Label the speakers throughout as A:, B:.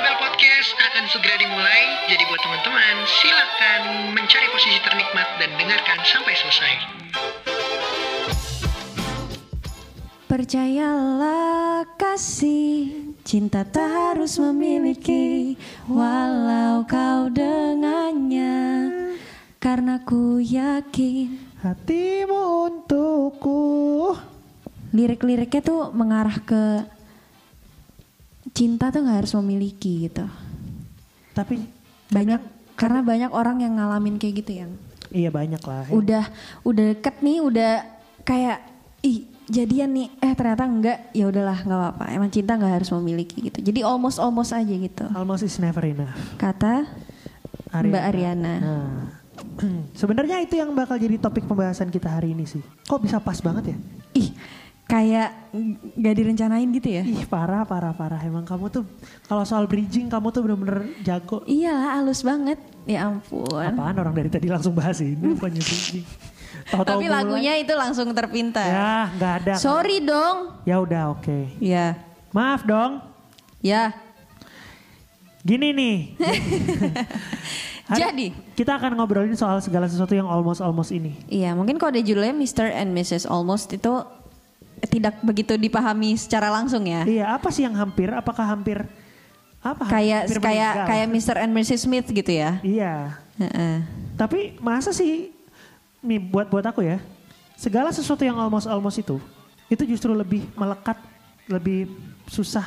A: podcast akan segera dimulai. Jadi buat teman-teman, silakan mencari posisi ternikmat dan dengarkan sampai selesai.
B: Percayalah kasih, cinta tak harus memiliki Walau kau dengannya Karena ku yakin
C: Hatimu untukku.
B: Lirik-liriknya tuh mengarah ke Cinta tuh gak harus memiliki gitu
C: Tapi
B: Banyak Karena banyak orang yang ngalamin kayak gitu yang
C: iya banyak lah. ya.
B: udah udah deket nih udah kayak ih jadian nih eh ternyata enggak ya udahlah nggak apa-apa emang cinta nggak harus memiliki gitu jadi almost almost aja gitu
C: Almost is never enough.
B: kata
C: Ariana.
B: Mbak Ariana
C: Nah. Sebenarnya itu yang bakal jadi topik pembahasan kita hari ini sih. Kok bisa pas banget ya?
B: ih kayak nggak direncanain gitu ya
C: Ih parah parah parah. Emang kamu tuh kalau soal bridging kamu tuh bener-bener jago.
B: iyalah halus banget ya ampun
C: Apaan orang dari tadi langsung bahas ini bukannya bridging. Tahu-tahu
B: tapi
C: mulai.
B: lagunya itu langsung terpintar
C: Ya nggak ada.
B: sorry dong
C: ya udah oke.
B: ya
C: Maaf dong.
B: ya
C: Gini nih. Hari-
B: Jadi.
C: Kita akan ngobrolin soal segala sesuatu yang almost-almost ini.
B: iya mungkin kode judulnya Mr. and Mrs. Almost itu tidak begitu dipahami secara langsung ya
C: Iya, apa sih yang hampir? Apakah hampir apa?
B: kayak
C: hampir
B: kayak
C: meninggal?
B: kayak Mr. and Mrs. Smith gitu ya.
C: Iya.
B: Heeh.
C: Tapi masa sih nih buat buat aku ya. Segala sesuatu yang almost almost itu itu justru lebih melekat, lebih susah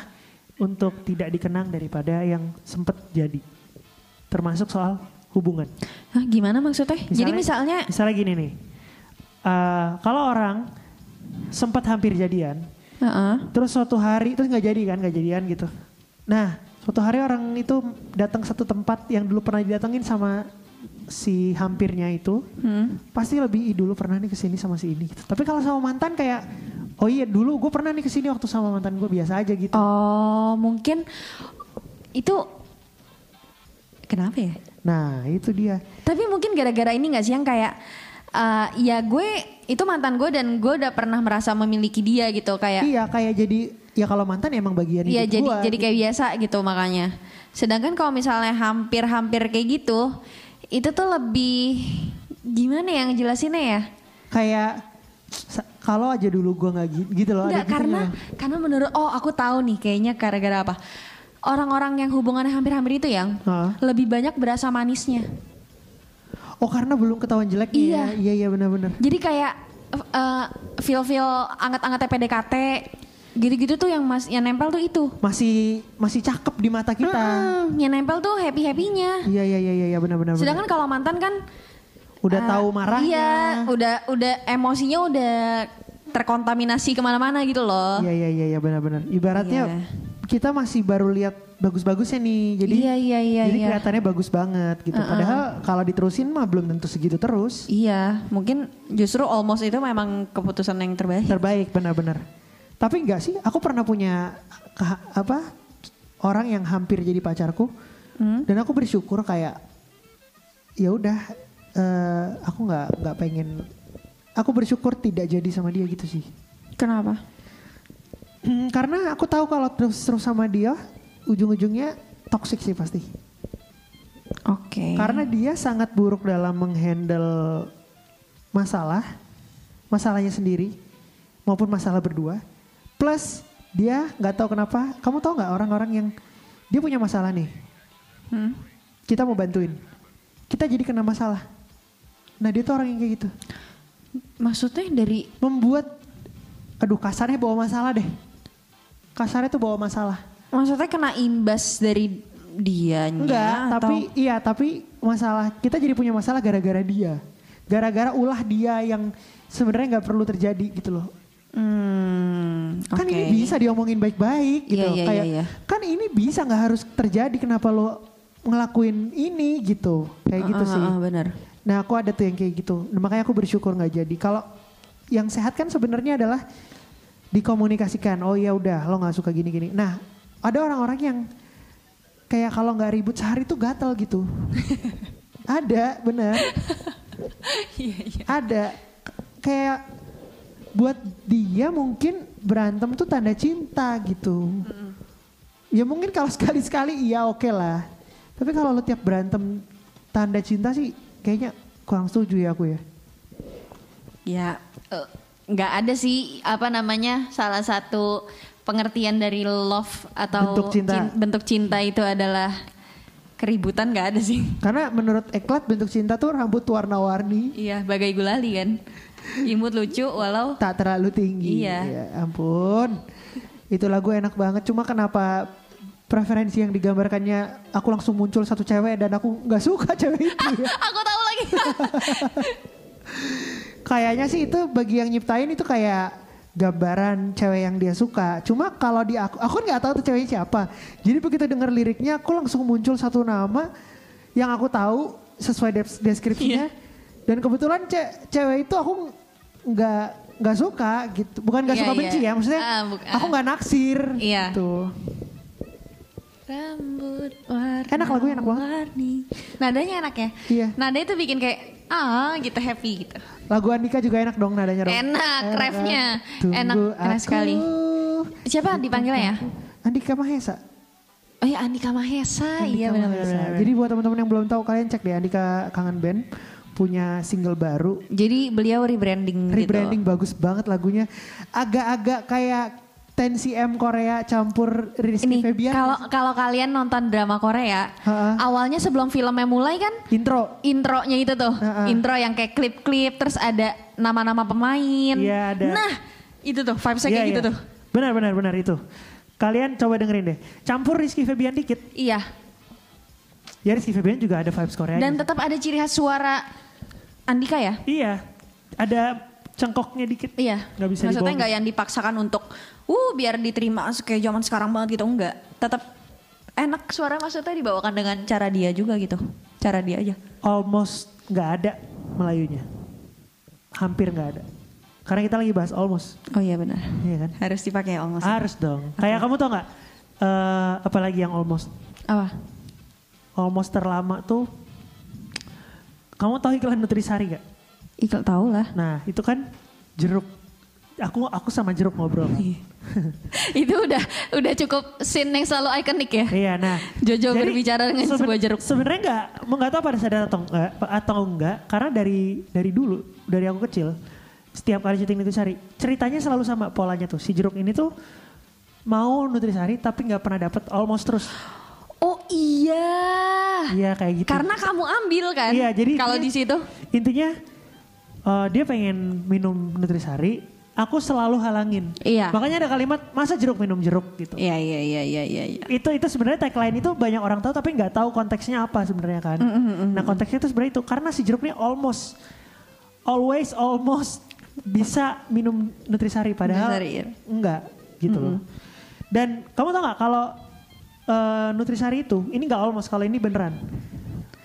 C: untuk tidak dikenang daripada yang sempat jadi. Termasuk soal hubungan.
B: Hah, gimana maksudnya? Jadi misalnya
C: misalnya gini nih. Eh, kalau orang sempat hampir jadian,
B: heeh.
C: Terus suatu hari terus nggak jadi kan nggak jadian gitu. Nah suatu hari orang itu datang satu tempat yang dulu pernah didatengin sama si hampirnya itu
B: Hmm.
C: pasti lebih "Ih, dulu pernah nih kesini sama si ini. Gitu. Tapi kalau sama mantan kayak oh iya dulu gue pernah nih kesini waktu sama mantan gue biasa aja gitu.
B: Oh, mungkin itu kenapa ya?
C: Nah itu dia.
B: Tapi mungkin gara-gara ini gak sih yang kayak eh, ya gue itu mantan gue dan gue udah pernah merasa memiliki dia gitu kayak
C: Iya kayak jadi ya kalau mantan emang bagian
B: Iya
C: hidup
B: jadi
C: gua.
B: jadi kayak biasa gitu makanya. Sedangkan kalau misalnya hampir-hampir kayak gitu, itu tuh lebih gimana yang jelasinnya ya?
C: kayak "Sa- kalau aja dulu gue nggak gi- gitu loh. ada
B: Enggak
C: gitunya
B: karena
C: loh.
B: karena menurut oh aku tahu nih kayaknya gara-gara apa orang-orang yang hubungannya hampir-hampir itu yang
C: Hah?
B: lebih banyak berasa manisnya.
C: oh karena belum ketahuan jeleknya.
B: Iya.
C: ya. Iya iya benar-benar.
B: Jadi kayak eh, feel-feel anget-angetnya PDKT gitu-gitu tuh yang mas yang nempel tuh itu.
C: masih masih cakep di mata kita.
B: Hmm, yang nempel tuh happy-happynya.
C: Iya iya iya iya benar-benar.
B: Sedangkan kalau mantan kan
C: udah
B: Ah,
C: tahu marahnya.
B: Iya, udah udah emosinya udah terkontaminasi kemana-mana gitu loh.
C: Iya iya iya iya, benar-benar. Ibaratnya
B: Iya.
C: kita masih baru lihat bagus-bagusnya nih. Jadi
B: Iya, iya, iya,
C: Jadi
B: iya.
C: kelihatannya bagus banget gitu. Padahal kalau diterusin mah belum tentu segitu terus.
B: Iya, mungkin justru almost itu memang keputusan yang terbaik.
C: Terbaik benar-benar. Tapi enggak sih, aku pernah punya keha- apa orang yang hampir jadi pacarku. Dan aku bersyukur kayak ya udah eh, aku nggak nggak pengen aku bersyukur tidak jadi sama dia gitu sih.
B: Kenapa?
C: Hmm, karena aku tahu kalau terus-terus sama dia, ujung-ujungnya toxic sih pasti.
B: Oke.
C: Karena dia sangat buruk dalam menghandle masalah, masalahnya sendiri maupun masalah berdua. Plus dia nggak tahu kenapa. Kamu tahu nggak orang-orang yang dia punya masalah nih,
B: Hmm.
C: kita mau bantuin, kita jadi kena masalah. Nah dia tuh orang yang kayak gitu,
B: Maksudnya dari
C: membuat, aduh kasarnya bawa masalah deh. Kasarnya tuh bawa masalah.
B: maksudnya kena imbas dari dianya
C: Enggak,
B: atau-
C: tapi iya, tapi masalah kita jadi punya masalah gara-gara dia. Gara-gara ulah dia yang sebenarnya nggak perlu terjadi gitu loh.
B: Hmm,
C: Kan
B: oke.
C: ini bisa diomongin baik-baik gitu.
B: Iya, iya,
C: Kayak
B: iya, iya.
C: kan ini bisa nggak harus terjadi kenapa lo ngelakuin ini gitu. Kayak gitu
B: Ah, ah,
C: sih.
B: ah, benar.
C: Nah, aku ada tuh yang kayak gitu. Nah, makanya aku bersyukur nggak jadi. Kalau yang sehat kan sebenarnya adalah dikomunikasikan. Oh ya udah, lo nggak suka gini-gini. Nah, ada orang-orang yang kayak kalau nggak ribut sehari tuh gatel gitu. ada, bener. Ada. Kayak buat dia mungkin berantem tuh tanda cinta gitu. Ya mungkin kalau sekali-sekali iya oke lah. Tapi kalau lo tiap berantem tanda cinta sih kayaknya kurang setuju ya aku ya.
B: Ya, eh, nggak ada sih apa namanya salah satu pengertian dari love atau
C: Bentuk cinta.
B: cin- bentuk cinta itu adalah keributan nggak ada sih.
C: Karena menurut Eklat bentuk cinta tuh rambut warna-warni
B: Iya, bagai gulali kan. Imut lucu walau
C: tak terlalu tinggi.
B: Iya.
C: Ya ampun. Itu lagu enak banget. Cuma kenapa preferensi yang digambarkannya aku langsung muncul satu cewek dan aku nggak suka cewek itu. ya.
B: aku tahu lagi.
C: Kayaknya sih itu bagi yang nyiptain itu kayak gambaran cewek yang dia suka. Cuma kalau di aku, aku kan nggak tahu tuh ceweknya siapa. Jadi begitu denger liriknya, aku langsung muncul satu nama yang aku tahu sesuai des- deskripsinya.
B: Iya.
C: Dan kebetulan ce- cewek itu aku nggak nggak suka gitu. Bukan nggak
B: Iya,
C: suka
B: iya.
C: benci ya, maksudnya
B: Ah, buk-
C: aku nggak naksir
B: Iya.
C: gitu.
B: Rambut warna
C: Enak lagunya, enak banget.
B: warni. Nadanya enak ya.
C: Iya.
B: Nada itu bikin kayak ah gitu happy gitu.
C: Lagu Andika juga enak dong nadanya dong.
B: Enak, refnya.
C: Tunggu
B: Enak, enak
C: aku.
B: sekali. Siapa dipanggilnya ya?
C: Andika Mahesa.
B: Oh ya Andika Mahesa,
C: Andika
B: iya benar-benar.
C: Mahesa.
B: benar-benar.
C: Jadi buat teman-teman yang belum tahu kalian cek deh Andika Kangen Band punya single baru.
B: Jadi beliau rebranding gitu.
C: Rebranding bagus banget lagunya. Agak-agak kayak Tensi M Korea campur Rizky
B: Ini
C: Febian.
B: kalau kalau kalian nonton drama Korea,
C: Ha-ha.
B: awalnya sebelum filmnya mulai kan
C: intro.
B: intronya itu tuh,
C: Ha-ha.
B: intro yang kayak klip-klip terus ada nama-nama pemain.
C: Iya, ada.
B: Nah, itu tuh vibes kayak
C: Iya,
B: gitu
C: iya.
B: tuh.
C: Benar benar benar itu. Kalian coba dengerin deh. Campur Rizky Febian dikit.
B: Iya.
C: Ya Rizky Febian juga ada vibes Korea.
B: Dan tetap ada ciri khas suara Andika ya?
C: iya. Ada cengkoknya dikit.
B: Iya.
C: Nggak bisa
B: Maksudnya
C: dibohongin.
B: nggak yang dipaksakan untuk uh biar diterima kayak zaman sekarang banget gitu enggak. Tetap enak suara maksudnya dibawakan dengan cara dia juga gitu. Cara dia aja.
C: almost nggak ada Melayunya. Hampir nggak ada. Karena kita lagi bahas almost,
B: Oh iya benar.
C: iya kan?
B: Harus dipakai almost.
C: Harus dong. Kayak kamu tau nggak? eh, apalagi yang almost,
B: Apa?
C: almost terlama tuh. Kamu tahu iklan Nutrisari gak?
B: Ikut tahu lah.
C: Nah itu kan jeruk. Aku aku sama jeruk ngobrol. Kan?
B: Iya. Itu udah udah cukup scene yang selalu ikonik ya.
C: Iya, nah.
B: Jojo berbicara dengan
C: seben-
B: sebuah jeruk.
C: Sebenarnya nggak, mau nggak tahu pada sadar atau enggak, atau enggak, karena dari dari dulu, dari aku kecil, setiap kali syuting Nutrisari, ceritanya selalu sama polanya tuh. Si jeruk ini tuh mau Nutrisari tapi nggak pernah dapet almost terus.
B: Oh iya.
C: Iya kayak gitu.
B: Karena kamu ambil kan?
C: Iya, jadi
B: kalau
C: dia-
B: di situ
C: Intinya eh, dia pengen minum Nutrisari, aku selalu halangin.
B: Iya.
C: Makanya ada kalimat masa jeruk minum jeruk gitu.
B: Iya iya iya iya iya iya.
C: itu itu sebenarnya tagline itu banyak orang tahu tapi nggak tahu konteksnya apa sebenarnya kan.
B: Mm,
C: Nah konteksnya itu sebenarnya itu karena si jeruk ini almost always almost bisa minum nutrisari padahal
B: Nutrisari, iya.
C: enggak gitu loh. Dan kamu tahu nggak kalau eh, nutrisari itu ini nggak almost kalau ini beneran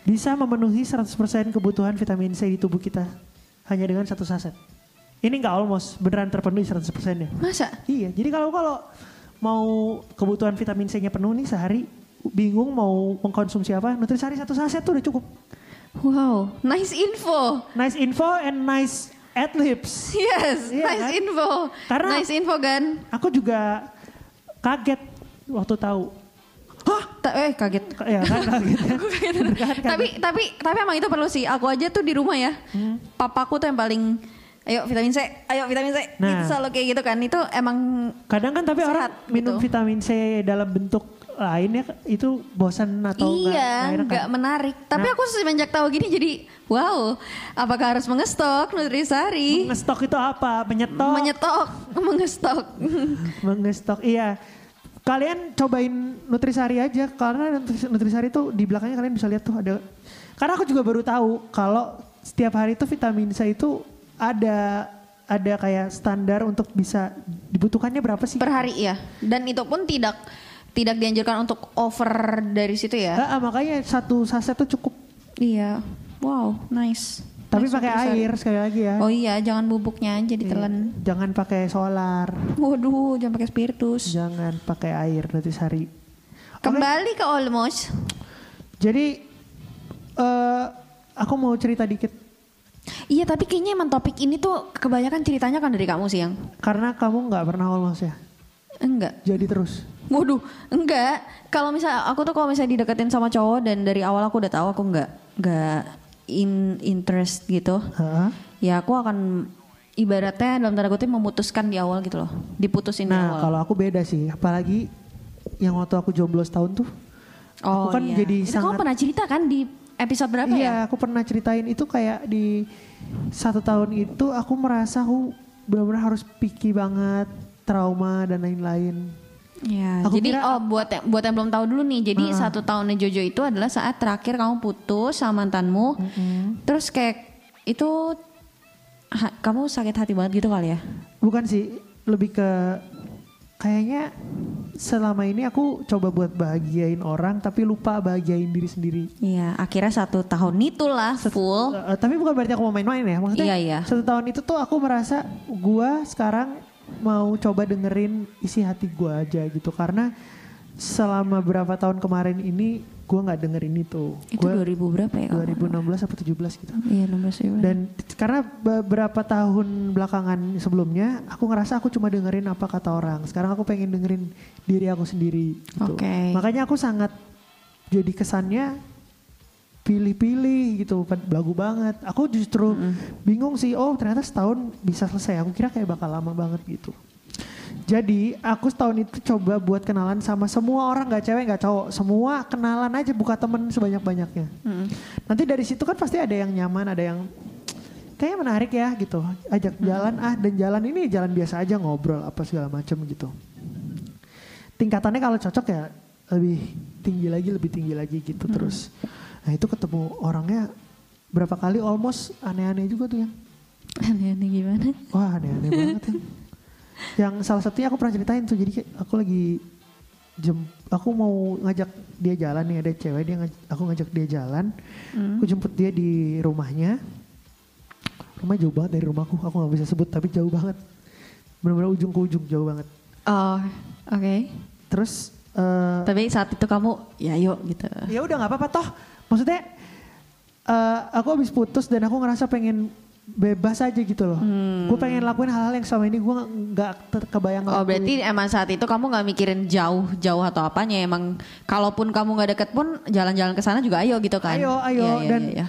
C: bisa memenuhi 100% kebutuhan vitamin C di tubuh kita hanya dengan satu saset. Ini nggak almost beneran terpenuhi 100% ya.
B: Masa?
C: Iya, jadi kalau kalau mau kebutuhan vitamin C-nya penuh nih sehari bingung mau mengkonsumsi apa, nutrisari satu saset tuh udah cukup.
B: Wow, nice info.
C: Nice info and nice ad libs.
B: Yes,
C: Iya
B: nice
C: kan?
B: info.
C: Karena-
B: nice info kan.
C: Aku juga kaget waktu tahu. Hah?
B: Ta- eh kaget.
C: Ya kan kaget kan? gitu.
B: Aku kaget. tapi tapi tapi emang itu perlu sih. Aku aja tuh di rumah ya.
C: Hmm.
B: Papaku tuh yang paling ayo vitamin C, ayo vitamin C.
C: Nah.
B: Itu selalu kayak gitu kan. Itu emang
C: Kadang kan tapi orang
B: Sehat,
C: minum
B: gitu.
C: vitamin C dalam bentuk lainnya itu bosan atau nggak-
B: iya,
C: enak
B: nggak
C: kan?
B: menarik. Tapi
C: Nah.
B: aku semenjak tahu gini jadi wow, apakah harus mengestok nutrisari?
C: Ngestok itu apa? Menyetok.
B: Menyetok, mengestok.
C: Mengestok, iya. Kalian cobain Nutrisari aja karena Nutris- Nutrisari itu di belakangnya kalian bisa lihat tuh ada. Karena aku juga baru tahu kalau setiap hari itu vitamin C itu ada ada kayak standar untuk bisa dibutuhkannya berapa sih?
B: per hari ya. Dan itu pun tidak tidak dianjurkan untuk over dari situ ya.
C: Ah, ah, makanya satu saset tuh cukup.
B: Iya. Wow, nice.
C: Tapi
B: Nice
C: pakai
B: nutrisari.
C: air sekali lagi ya.
B: Oh iya, jangan bubuknya aja ditelan.
C: Jangan pakai solar,
B: Waduh, jangan pakai spiritus.
C: jangan pakai air Nutrisari. Oke.
B: Kembali ke almost.
C: Jadi eh aku mau cerita dikit
B: Iya, tapi kayaknya emang topik ini tuh kebanyakan ceritanya kan dari kamu sih yang.
C: karena kamu nggak pernah almost ya.
B: Enggak.
C: Jadi terus.
B: Waduh, enggak. Kalau misal aku tuh kalau misalnya dideketin sama cowok dan dari awal aku udah tahu aku enggak enggak in interest gitu.
C: Hah?
B: Ya aku akan ibaratnya dalam tanda kutip memutuskan di awal gitu loh. Diputusin di
C: Nah,
B: awal.
C: kalau aku beda sih, apalagi yang waktu aku jomblo setahun tuh. aku kan
B: Oh, iya.
C: jadi
B: Itu
C: sangat
B: kamu pernah cerita kan di episode berapa
C: Iya,
B: ya?
C: aku pernah ceritain itu kayak di satu tahun itu aku merasa aku benar-benar harus picky banget, trauma dan lain-lain.
B: Iya.
C: Aku
B: Jadi
C: kira-
B: oh buat yang- buat yang belum tahu dulu nih. Jadi satu tahunnya Jojo itu adalah saat terakhir kamu putus sama mantanmu. Terus kayak itu ha- kamu sakit hati banget gitu kali ya?
C: Bukan sih, lebih ke kayaknya selama ini aku coba buat bahagiain orang tapi lupa bahagiain diri sendiri.
B: Iya, akhirnya satu tahun itulah full.
C: Eh, tapi bukan berarti aku mau main-main ya, maksudnya
B: Iya, iya.
C: satu tahun itu tuh aku merasa gua sekarang mau coba dengerin isi hati gua aja gitu karena selama berapa tahun kemarin ini gua nggak dengerin itu.
B: Itu
C: Gua-
B: 2000 berapa ya? kalau nggak
C: 2016 atau 17 gitu.
B: salah? Iya, 16 ribu.
C: Dan t- karena beberapa tahun belakangan sebelumnya aku ngerasa aku cuma dengerin apa kata orang. Sekarang aku pengen dengerin diri aku sendiri gitu.
B: Oke.
C: Makanya aku sangat jadi kesannya pilih-pilih gitu, pad- belagu banget. Aku justru bingung sih, oh ternyata setahun bisa selesai. Aku kira kayak bakal lama banget gitu. Jadi aku setahun itu coba buat kenalan sama semua orang nggak cewek nggak cowok semua kenalan aja buka temen sebanyak banyaknya. Nanti dari situ kan pasti ada yang nyaman ada yang kayaknya menarik ya gitu ajak jalan ah dan jalan ini jalan biasa aja ngobrol apa segala macam gitu. Tingkatannya kalau cocok ya lebih tinggi lagi lebih tinggi lagi gitu terus. Nah itu ketemu orangnya berapa kali almost aneh-aneh juga tuh yang
B: Aneh-aneh gimana?
C: Wah aneh-aneh banget ya. Yang salah satunya aku pernah ceritain tuh. Jadi kayak aku lagi jem, aku mau ngajak dia jalan nih ada cewek dia ngaj- aku ngajak dia jalan. Aku jemput dia di rumahnya. Rumah jauh banget dari rumahku. Aku nggak bisa sebut tapi jauh banget. Benar-benar ujung ke ujung jauh banget.
B: Oh, oke.
C: Terus eh,
B: Tapi saat itu kamu ya yuk gitu.
C: ya udah nggak apa-apa toh maksudnya eh, aku habis putus dan aku ngerasa pengen bebas aja gitu loh gue pengen lakuin hal-hal yang selama ini gue nggak ter- kebayang
B: Hmm. Oh
C: lakuin.
B: berarti emang saat itu kamu nggak mikirin jauh-jauh atau apanya emang kalaupun kamu nggak deket pun jalan-jalan ke sana juga ayo gitu kan?
C: ayo ayo
B: Iya, iya,
C: dan
B: iya, iya.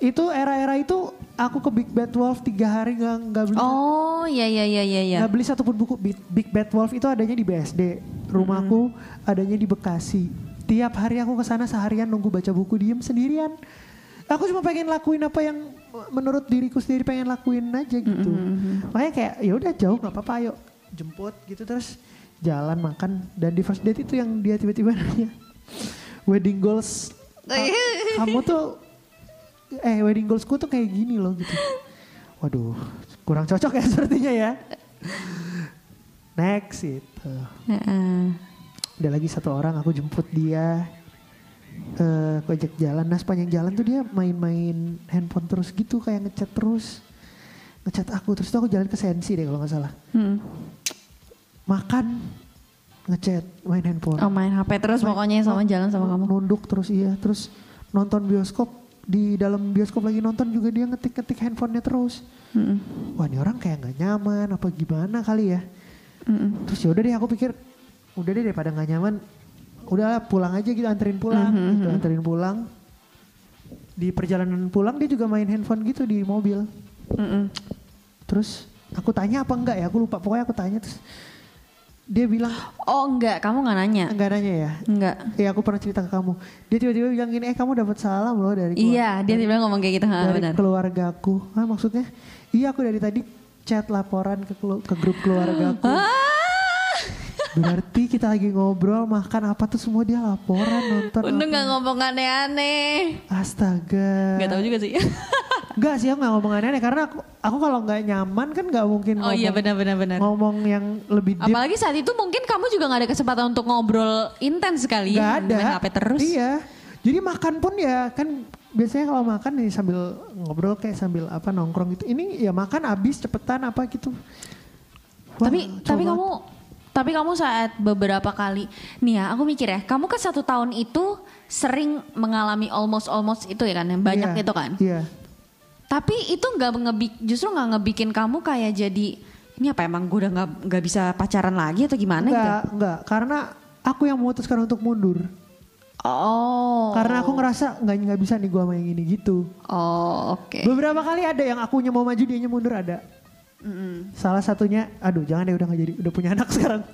C: itu era-era itu aku ke Big Bad Wolf tiga hari nggak nggak beli
B: Oh iya iya iya iya. iya.
C: nggak Nah, beli satupun buku Big, Big Bad Wolf itu adanya di BSD rumahku adanya di Bekasi tiap hari aku ke sana seharian nunggu baca buku diem sendirian aku cuma pengen lakuin apa yang menurut diriku sendiri pengen lakuin aja gitu makanya kayak ya udah jauh nggak apa-apa ayo jemput gitu terus jalan makan dan di first date itu yang dia tiba-tiba nanya wedding goals ka- kamu tuh eh wedding goalsku tuh kayak gini loh gitu waduh kurang cocok ya sepertinya ya Next itu.
B: Heeh.
C: Ada lagi satu orang aku jemput dia. eh aku ajak jalan. Nah sepanjang jalan tuh dia main-main handphone terus gitu. Kayak ngechat terus. Ngechat aku. Terus tuh aku jalan ke Sensi deh kalau gak salah.
B: Hmm.
C: Makan. Ngechat. Main handphone.
B: Oh main Hmm. HP terus pokoknya sama jalan sama kamu.
C: Nunduk terus iya. Terus nonton bioskop. Di dalam bioskop lagi nonton juga dia ngetik-ngetik handphonenya terus.
B: Mm-mm.
C: Wah ini orang kayak nggak nyaman apa gimana kali ya.
B: Mm-mm.
C: terus ya udah deh aku pikir udah deh daripada nggak nyaman udah pulang aja gitu anterin pulang
B: Mhm,
C: gitu anterin pulang di perjalanan pulang dia juga main handphone gitu di mobil
B: Mm-mm.
C: terus aku tanya apa enggak ya aku lupa pokoknya aku tanya terus dia bilang
B: Oh enggak, kamu nggak nanya?
C: enggak nanya ya
B: Enggak.
C: ya aku pernah cerita ke kamu dia tiba-tiba bilang gini eh kamu dapat salam loh dari keluarga
B: Iya, dia tiba ngomong kayak gitu, ha,
C: dari
B: benar.
C: keluargaku. Hah, maksudnya? Iya aku dari tadi chat laporan ke kelu- ke grup keluargaku.
B: Ah!
C: Berarti kita lagi ngobrol, makan apa tuh semua dia laporan, nonton.
B: Untung
C: apa. Eh.
B: nggak ngomong aneh-aneh.
C: Astaga.
B: Nggak tahu juga sih.
C: Enggak sih aku gak ngomong aneh karena aku, aku kalau nggak nyaman kan nggak mungkin
B: oh
C: ngomong,
B: iya benar-benar benar.
C: ngomong yang lebih deep.
B: Apalagi saat itu mungkin kamu juga nggak ada kesempatan untuk ngobrol intens sekali.
C: Nggak ada.
B: Main HP terus.
C: Iya. Jadi makan pun ya kan biasanya kalau makan nih sambil ngobrol kayak sambil apa nongkrong gitu. Ini ya makan habis cepetan apa gitu. Wah,
B: tapi
C: coba.
B: tapi kamu tapi kamu saat beberapa kali nih ya aku mikir ya kamu kan satu tahun itu sering mengalami almost almost itu ya kan yang banyak
C: Iya,
B: itu kan
C: Iya.
B: tapi itu nggak ngebik justru nggak ngebikin kamu kayak jadi ini apa emang gue udah nggak nggak bisa pacaran lagi atau gimana gitu?
C: Enggak, enggak. Karena aku yang memutuskan untuk mundur.
B: Oh.
C: Karena aku ngerasa nggak nggak bisa nih gua sama yang ini gitu.
B: Oh oke.
C: Beberapa kali ada yang akunya mau maju dianya mundur ada.
B: Mm-mm.
C: Salah satunya, aduh jangan deh udah nggak jadi, udah punya anak sekarang.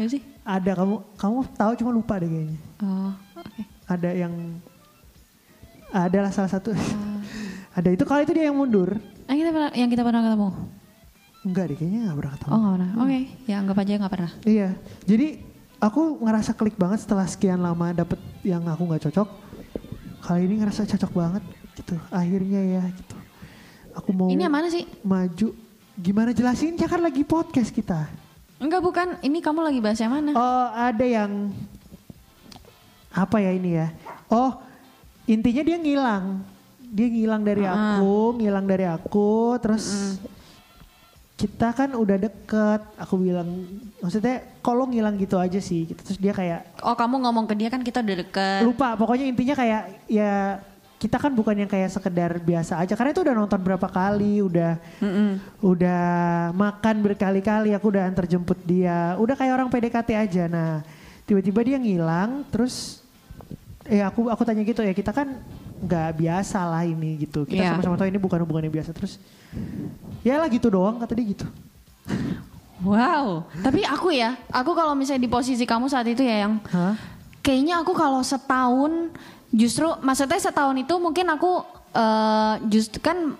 B: Ya sih.
C: Ada kamu, kamu tahu cuma lupa deh kayaknya.
B: Oh oke.
C: Ada yang, adalah salah satu. ada itu kalau itu dia yang mundur.
B: Ah, kita pernah, yang kita pernah ketemu.
C: Enggak deh kayaknya nggak pernah ketemu.
B: Oh nggak pernah. Oke. Ya anggap aja nggak pernah.
C: Iya, jadi aku ngerasa klik banget setelah sekian lama dapet yang aku nggak cocok. Kali ini ngerasa cocok banget gitu. Akhirnya ya gitu. Aku mau.
B: Ini yang mana sih?
C: maju gimana jelasin ya kan lagi podcast kita
B: Enggak bukan. Ini kamu lagi bahas yang mana?
C: oh ada yang apa ya ini ya oh intinya dia ngilang dia ngilang dari
B: Ah.
C: aku ngilang dari aku terus kita kan udah deket aku bilang maksudnya kalau ngilang gitu aja sih gitu. terus dia kayak
B: Oh kamu ngomong ke dia kan kita udah deket.
C: lupa pokoknya intinya kayak ya kita kan bukan yang kayak sekedar biasa aja karena itu udah nonton berapa kali udah udah makan berkali-kali aku udah antar jemput dia udah kayak orang PDKT aja nah tiba-tiba dia ngilang terus eh aku aku tanya gitu ya kita kan nggak biasa lah ini gitu kita
B: Iya.
C: sama-sama tahu ini bukan hubungan yang biasa terus ya lah gitu doang kata dia gitu
B: Wow. Tapi aku ya, aku kalau misalnya di posisi kamu saat itu ya yang
C: hah
B: Kayaknya aku kalau setahun justru maksudnya setahun itu mungkin aku eh, justru kan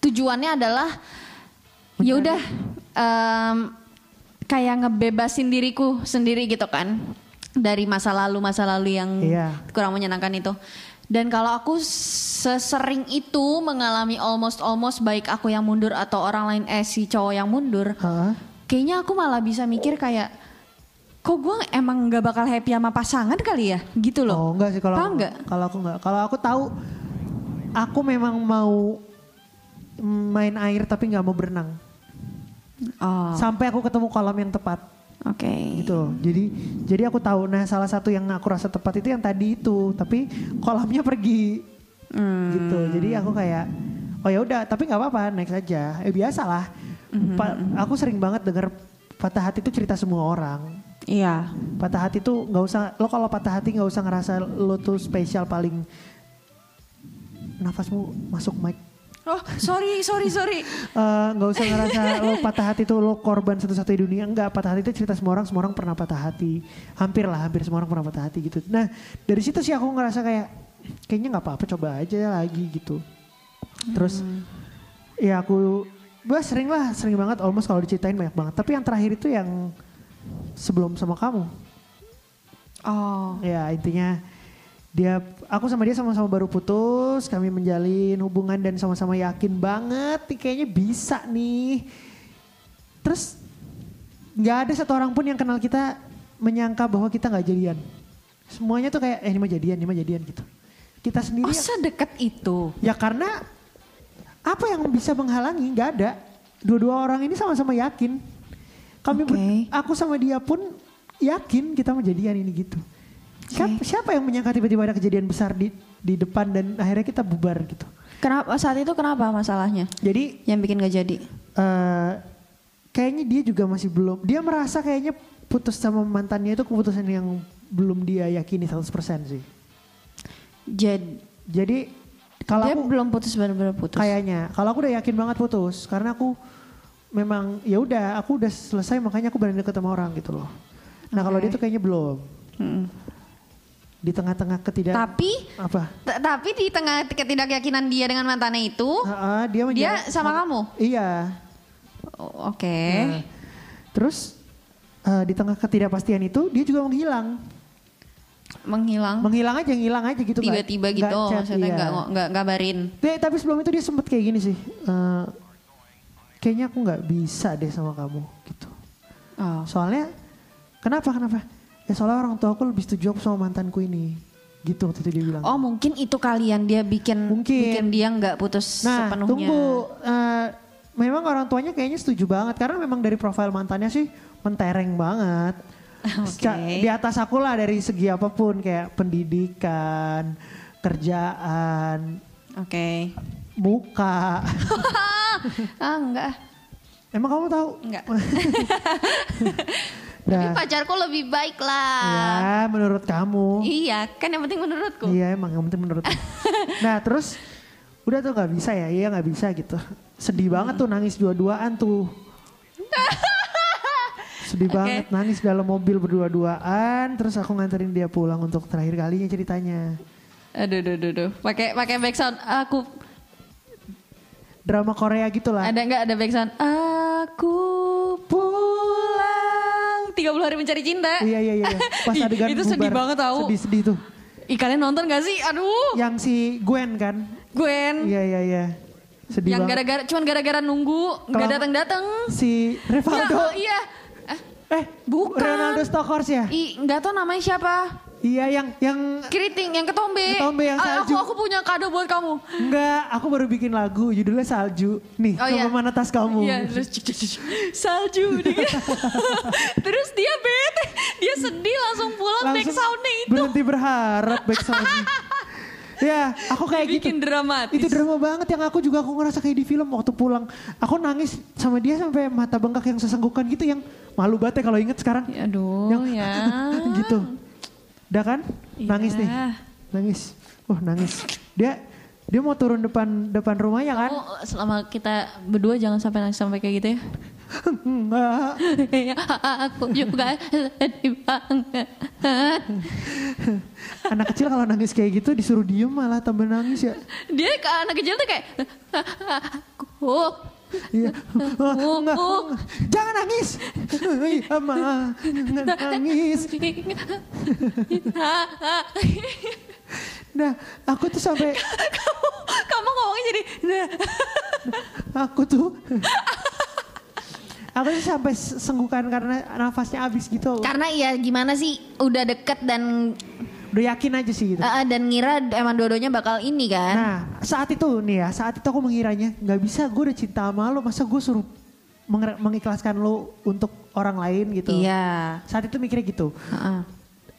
B: tujuannya adalah ya udah em, kayak ngebebasin diriku sendiri gitu kan dari masa lalu masa lalu yang
C: Iya.
B: kurang menyenangkan itu. Dan kalau aku sesering itu mengalami almost almost baik aku yang mundur atau orang lain eh si cowok yang mundur,
C: hah
B: kayaknya aku malah bisa mikir kayak kok gue emang nggak bakal happy sama pasangan kali ya gitu loh
C: Oh enggak sih kalau
B: paham nggak
C: kalau aku enggak. Kalau aku tahu aku memang mau main air tapi nggak mau berenang.
B: oh
C: Sampai aku ketemu kolam yang tepat
B: oke
C: gitu. Jadi jadi aku tahu nah salah satu yang aku rasa tepat itu yang tadi itu, tapi kolamnya pergi.
B: Hmm,
C: Gitu. Jadi aku kayak oh ya udah, tapi nggak apa-apa, next aja. Eh biasalah. Pa- aku sering banget denger patah hati itu cerita semua orang.
B: iya
C: Patah hati tuh nggak usah lo kalau patah hati nggak usah ngerasa lo tuh spesial paling nafasmu masuk mic
B: oh sorry sorry sorry
C: Eh, nggak usah ngerasa lo patah hati tuh lo korban satu-satunya dunia enggak patah hati itu cerita semua orang semua orang pernah patah hati hampir lah hampir semua orang pernah patah hati gitu nah dari situ sih aku ngerasa kayak kayaknya nggak apa-apa coba aja lagi gitu terus ya aku gue sering lah sering banget almost kalau diceritain banyak banget tapi yang terakhir itu yang sebelum sama kamu
B: oh
C: Ya intinya dia aku sama dia sama-sama baru putus, kami menjalin hubungan dan sama-sama yakin banget nih kayaknya bisa nih. Terus nggak ada satu orang pun yang kenal kita menyangka bahwa kita nggak jadian. Semuanya tuh kayak eh ini mah jadian, ini mah jadian gitu. Kita sendiri
B: oh sedekat itu
C: ya karena apa yang bisa menghalangi nggak ada. Dua-dua orang ini sama-sama yakin. Kami ber-
B: Oke.
C: aku sama dia pun yakin kita mau jadian ini gitu. Siapa,
B: Oke.
C: siapa yang menyangka tiba-tiba ada kejadian besar di di depan dan akhirnya kita bubar gitu.
B: kenapa saat itu kenapa masalahnya
C: Jadi
B: yang bikin gak jadi
C: eh, kayaknya dia juga masih belum dia merasa kayaknya putus sama mantannya itu keputusan yang belum dia yakini 100% sih.
B: jadi
C: Jadi kalau
B: dia
C: aku
B: belum putus benar-benar putus
C: Kayaknya. Kalau aku udah yakin banget putus karena aku memang ya udah aku udah selesai makanya aku berani deket sama orang gitu loh. Nah, kalau
B: Oke.
C: dia tuh kayaknya belum.
B: Mm.
C: Di tengah-tengah ketidak
B: tapi
C: apa?
B: t- tapi di tengah ketidakyakinan dia dengan mantannya itu
C: Heeh, dia
B: dia
C: menjadi-
B: sama kamu
C: Iya.
B: Oh, oke
C: Nah, terus eh, di tengah ketidakpastian itu dia juga menghilang.
B: menghilang
C: Menghilang aja, ngilang aja gitu nggak-
B: tiba-tiba
C: nggak
B: gitu
C: chat,
B: maksudnya
C: iya.
B: nggak ngo- nggak ngabarin
C: Dek, tapi sebelum itu dia sempet kayak gini sih. eh, kayaknya aku nggak bisa deh sama kamu gitu.
B: oh.
C: Soalnya kenapa kenapa? Ya soalnya orang tua aku lebih setuju aku sama mantanku ini. Gitu waktu itu dia bilang.
B: Oh mungkin itu kalian dia bikin
C: Mungkin.
B: bikin dia nggak putus
C: nah,
B: sepenuhnya.
C: tunggu. Eh, memang orang tuanya kayaknya setuju banget karena memang dari profil mantannya sih mentereng banget. Seca- Di atas aku lah dari segi apapun kayak pendidikan, kerjaan,
B: Oke.
C: muka.
B: ah enggak.
C: Emang kamu tahu?
B: Enggak.
D: Tapi
C: Dah.
D: pacarku lebih baik lah.
C: Ya, menurut kamu.
B: Iya, kan yang penting menurutku.
C: Iya, emang yang penting menurut. nah, terus udah tuh nggak bisa ya, iya nggak bisa gitu. Sedih banget tuh nangis dua-duaan tuh. Sedih
B: Oke.
C: banget nangis dalam mobil berdua-duaan, terus aku nganterin dia pulang untuk terakhir kalinya ceritanya.
B: Aduh, aduh, aduh, aduh. Pakai pakai background aku
C: Drama Korea gitu lah.
B: ada nggak ada background aku pulang 30 hari mencari cinta.
C: Iya, iya, iya. iya. Pas
B: Ih,
C: adegan
B: itu sedih
C: bubar.
B: banget tahu.
C: Sedih-sedih tuh.
B: Ih, kalian nonton gak sih? Aduh,
C: Yang si Gwen kan?
B: Gwen
C: Iya, iya, iya. Sedih
B: yang
C: banget.
B: gara-gara cuman gara-gara nunggu nggak
C: Kelama-
B: datang-datang.
C: Si Rivaldo.
B: Ya, oh, iya. Eh,
C: Eh,
B: Bukan.
C: Ronaldo Stokors ya?
D: Ih, nggak tahu namanya siapa.
C: Iya, yang yang
D: Keriting yang ketombe.
C: Ketombe yang
D: Ah,
C: salju.
D: Aku aku punya kado buat kamu.
C: enggak, aku baru bikin lagu judulnya Salju. Nih, oh,
D: Oh, iya.
C: mana tas kamu?
B: Iya, terus cek, cek, cek, cek. salju dia. terus dia bete, dia sedih langsung pulang Oh, back soundnya itu.
C: berhenti berharap back sound. ya, aku kayak
B: Bikin
C: gitu.
B: dramatis.
C: Itu drama banget yang aku juga aku ngerasa kayak di film waktu pulang. Aku nangis sama dia sampai mata bengkak yang sesenggukan gitu yang malu banget ya kalau inget sekarang.
B: Ya, aduh,
C: Yang
B: ya.
C: gitu. Udah kan? Nangis nih.
B: Iya.
C: Nangis. Wah, nangis. Dia dia mau turun depan depan rumahnya kan?
B: Kamu selama kita berdua jangan sampai nangis sampai kayak gitu ya.
C: Enggak.
B: Aku juga sedih banget.
C: Anak kecil kalau nangis kayak gitu disuruh diem malah tambah nangis ya.
B: Dia ke anak kecil tuh kayak aku
C: Iya. Ah,
B: Uh,
C: enggak,
B: uh.
C: enggak. Jangan nangis. Ih, Ama, jangan nangis. Nah, aku tuh sampai
B: kamu kamu ngomongnya jadi
C: aku tuh Aku tuh sampai senggukan karena nafasnya habis gitu.
D: Karena ya gimana sih udah deket dan
C: Udah yakin aja sih gitu.
D: eh, dan ngira emang dua-duanya bakal ini kan.
C: Nah, saat itu nih ya, saat itu aku mengiranya nggak bisa gue udah cinta sama lo, masa gue suruh menger- mengikhlaskan lo untuk orang lain gitu.
B: iya
C: Saat itu mikirnya gitu.
B: Heeh.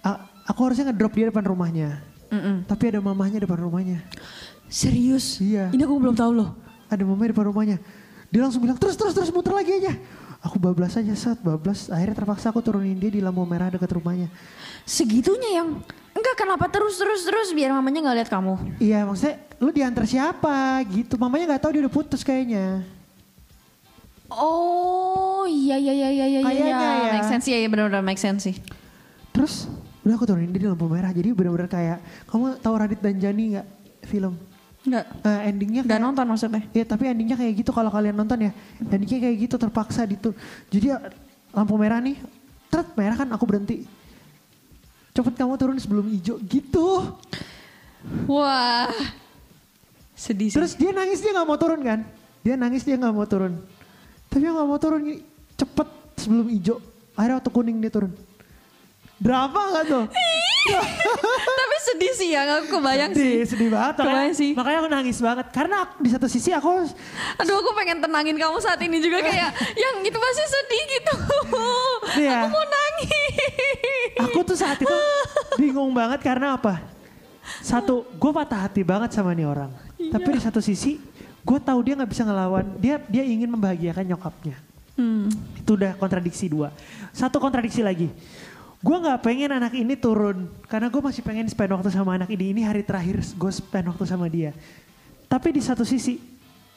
C: A- aku harusnya ngedrop dia depan rumahnya.
B: Mm-mm.
C: Tapi ada mamahnya depan rumahnya.
B: serius
C: Iya.
B: ini aku belum tahu loh
C: Ada mamanya depan rumahnya. Dia langsung bilang terus terus terus muter lagi aja. Aku bablas aja saat bablas. Akhirnya terpaksa aku turunin dia di lampu merah dekat rumahnya.
B: segitunya yang
D: Enggak kenapa terus terus terus biar mamanya nggak lihat kamu.
C: Iya maksudnya lu diantar siapa gitu. Mamanya nggak tahu dia udah putus kayaknya.
B: oh iya iya iya iya iya iya
C: Kayaknya ya.
B: make sense iya iya benar-benar make sense sih
C: Terus udah aku turunin dia di lampu merah. Jadi bener-bener kayak kamu tahu Radit dan Jani nggak film?
B: nggak
C: Eh, endingnya
B: nggak
C: kayak-
B: nonton maksudnya
C: Iya tapi endingnya kayak gitu kalau kalian nonton ya. Endingnya kayak gitu terpaksa gitu. Jadi lampu merah nih. Tret merah kan aku berhenti. Cepet kamu turun sebelum hijau gitu.
B: wah sedih sih
C: Terus dia nangis dia nggak mau turun kan? Dia nangis dia nggak mau turun. Tapi yang nggak mau turun gini, cepet sebelum hijau. Akhirnya waktu kuning dia turun. Drama gak tuh?
B: Iya tapi sedih sih ya aku kebayang sih
C: sedih, sedih banget. Makanya,
B: Kebayang sih.
C: makanya aku nangis banget. Karena aku- di satu sisi aku
B: Aduh aku pengen tenangin kamu saat ini juga kayak yang itu pasti sedih gitu.
C: Iya.
B: Aku mau nangis.
C: aku tuh saat itu bingung banget karena apa? Satu, gue patah hati banget sama nih orang. Tapi di satu sisi, gue tahu dia nggak bisa ngelawan. Dia dia ingin membahagiakan nyokapnya.
B: Hmm.
C: Itu udah kontradiksi dua. Satu kontradiksi lagi. Gue nggak pengen anak ini turun karena gue masih pengen spend waktu sama anak ini. Ini hari terakhir gue spend waktu sama dia. Tapi di satu sisi,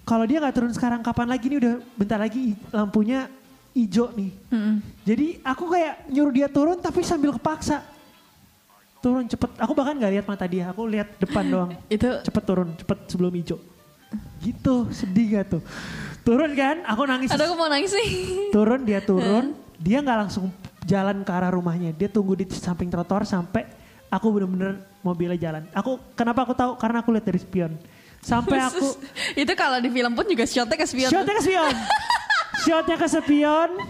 C: kalau dia nggak turun sekarang kapan lagi nih udah bentar lagi i- lampunya hijau nih.
B: Mm-mm.
C: Jadi aku kayak nyuruh dia turun tapi sambil kepaksa. Turun cepet. Aku bahkan gak lihat mata dia. Aku lihat depan doang.
B: Itu
C: Cepet turun, cepet sebelum hijau. Gitu, sedih gak tuh. Turun kan, aku nangis.
B: aduh aku mau nangis nih.
C: Turun, dia turun. dia gak langsung jalan ke arah rumahnya. Dia tunggu di samping trotoar sampai aku bener-bener mobilnya jalan. Aku Kenapa aku tahu? Karena aku lihat dari spion. Sampai aku...
B: itu kalau di film pun juga shotnya ke spion.
C: Shotnya ke spion. Shotnya ke spion.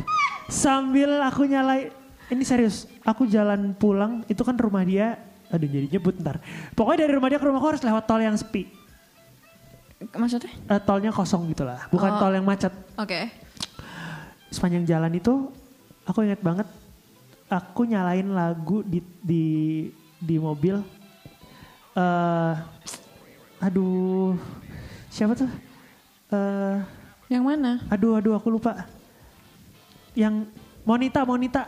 C: Sambil aku nyalai. Ini serius. Aku jalan pulang. Itu kan rumah dia. Aduh jadi nyebut ntar. Pokoknya dari rumah dia ke rumahku harus lewat tol yang sepi.
B: Maksudnya?
C: Eh, tolnya kosong gitu lah.
B: Oh.
C: Bukan tol yang macet.
B: Oke.
C: Sepanjang jalan itu. Aku ingat banget. Aku nyalain lagu di di, di mobil. eh aduh. Siapa tuh? eh
B: Yang mana?
C: Aduh, aduh, aku lupa. Yang Monita, Monita.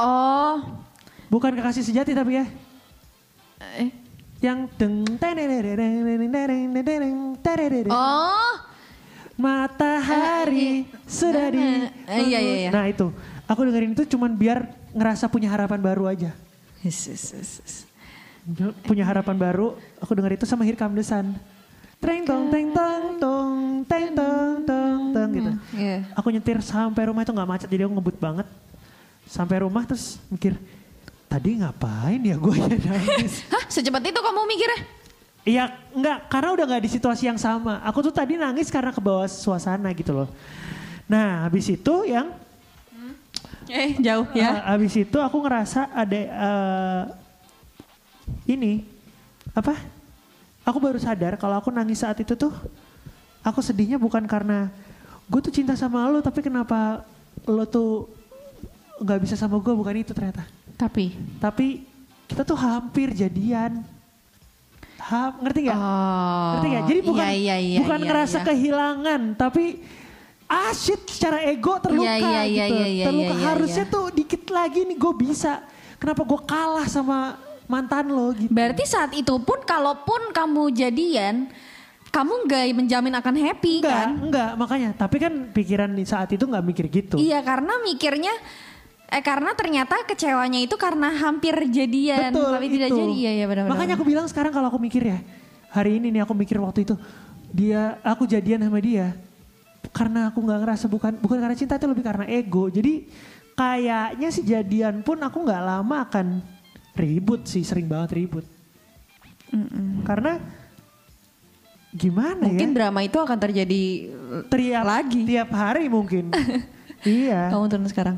B: Oh,
C: Bukan kekasih sejati tapi ya.
B: eh.
C: Yang deng terereng, terereng, terereng, terereng, terereng.
B: Oh,
C: matahari sudah di.
B: Eh, iya, iya, iya.
C: Nah itu, aku dengerin itu cuman biar ngerasa punya harapan baru aja.
B: yes, yes, yes, yes.
C: Punya harapan baru, aku denger itu sama Here Come the Sun. Treng tong teng tong tong teng tong tong tong gitu.
B: Iya.
C: Aku nyetir sampai rumah itu nggak macet jadi aku ngebut banget. Sampai rumah terus mikir tadi ngapain ya gue ya nangis.
B: Hah, secepat itu kamu mikirnya?
C: Iya enggak karena udah nggak di situasi yang sama. Aku tuh tadi nangis karena kebawa suasana gitu loh. Nah habis itu yang
B: Eh, jauh ya.
C: eh, habis itu aku ngerasa ada eh, ini apa? Aku baru sadar kalau aku nangis saat itu tuh aku sedihnya bukan karena gue tuh cinta sama lo tapi kenapa lo tuh nggak bisa sama gue bukan itu ternyata.
B: Tapi,
C: Tapi kita tuh hampir jadian. Ha, ngerti nggak?
B: oh,
C: Ngerti nggak? Jadi bukan
B: iya, iya, iya,
C: bukan
B: iya,
C: ngerasa
B: iya.
C: kehilangan, tapi ah shit secara ego terluka
B: Iya, iya, iya,
C: gitu.
B: iya, iya, iya,
C: terluka
B: iya.
C: harusnya tuh dikit lagi nih gue bisa. Kenapa gue kalah sama mantan lo gitu?
B: Berarti saat itu pun, kalaupun kamu jadian, kamu nggak menjamin akan happy
C: enggak,
B: kan?
C: enggak makanya. Tapi kan pikiran di saat itu nggak mikir gitu.
B: Iya, karena mikirnya, eh karena ternyata kecewanya itu karena hampir jadian,
C: Betul,
B: tapi tidak
C: itu.
B: jadi. Iya, iya benar-benar.
C: Makanya aku bilang sekarang kalau aku mikir ya, hari ini nih aku mikir waktu itu dia aku jadian sama dia karena aku nggak ngerasa bukan bukan karena cinta itu lebih karena ego. Jadi kayaknya sih jadian pun aku nggak lama akan ribut sih sering banget ribut. Karena gimana
B: Mungkin
C: ya?
B: drama itu akan terjadi Iya.
C: Teriak
B: lagi.
C: Tiap hari mungkin. iya.
B: Kamu turun sekarang.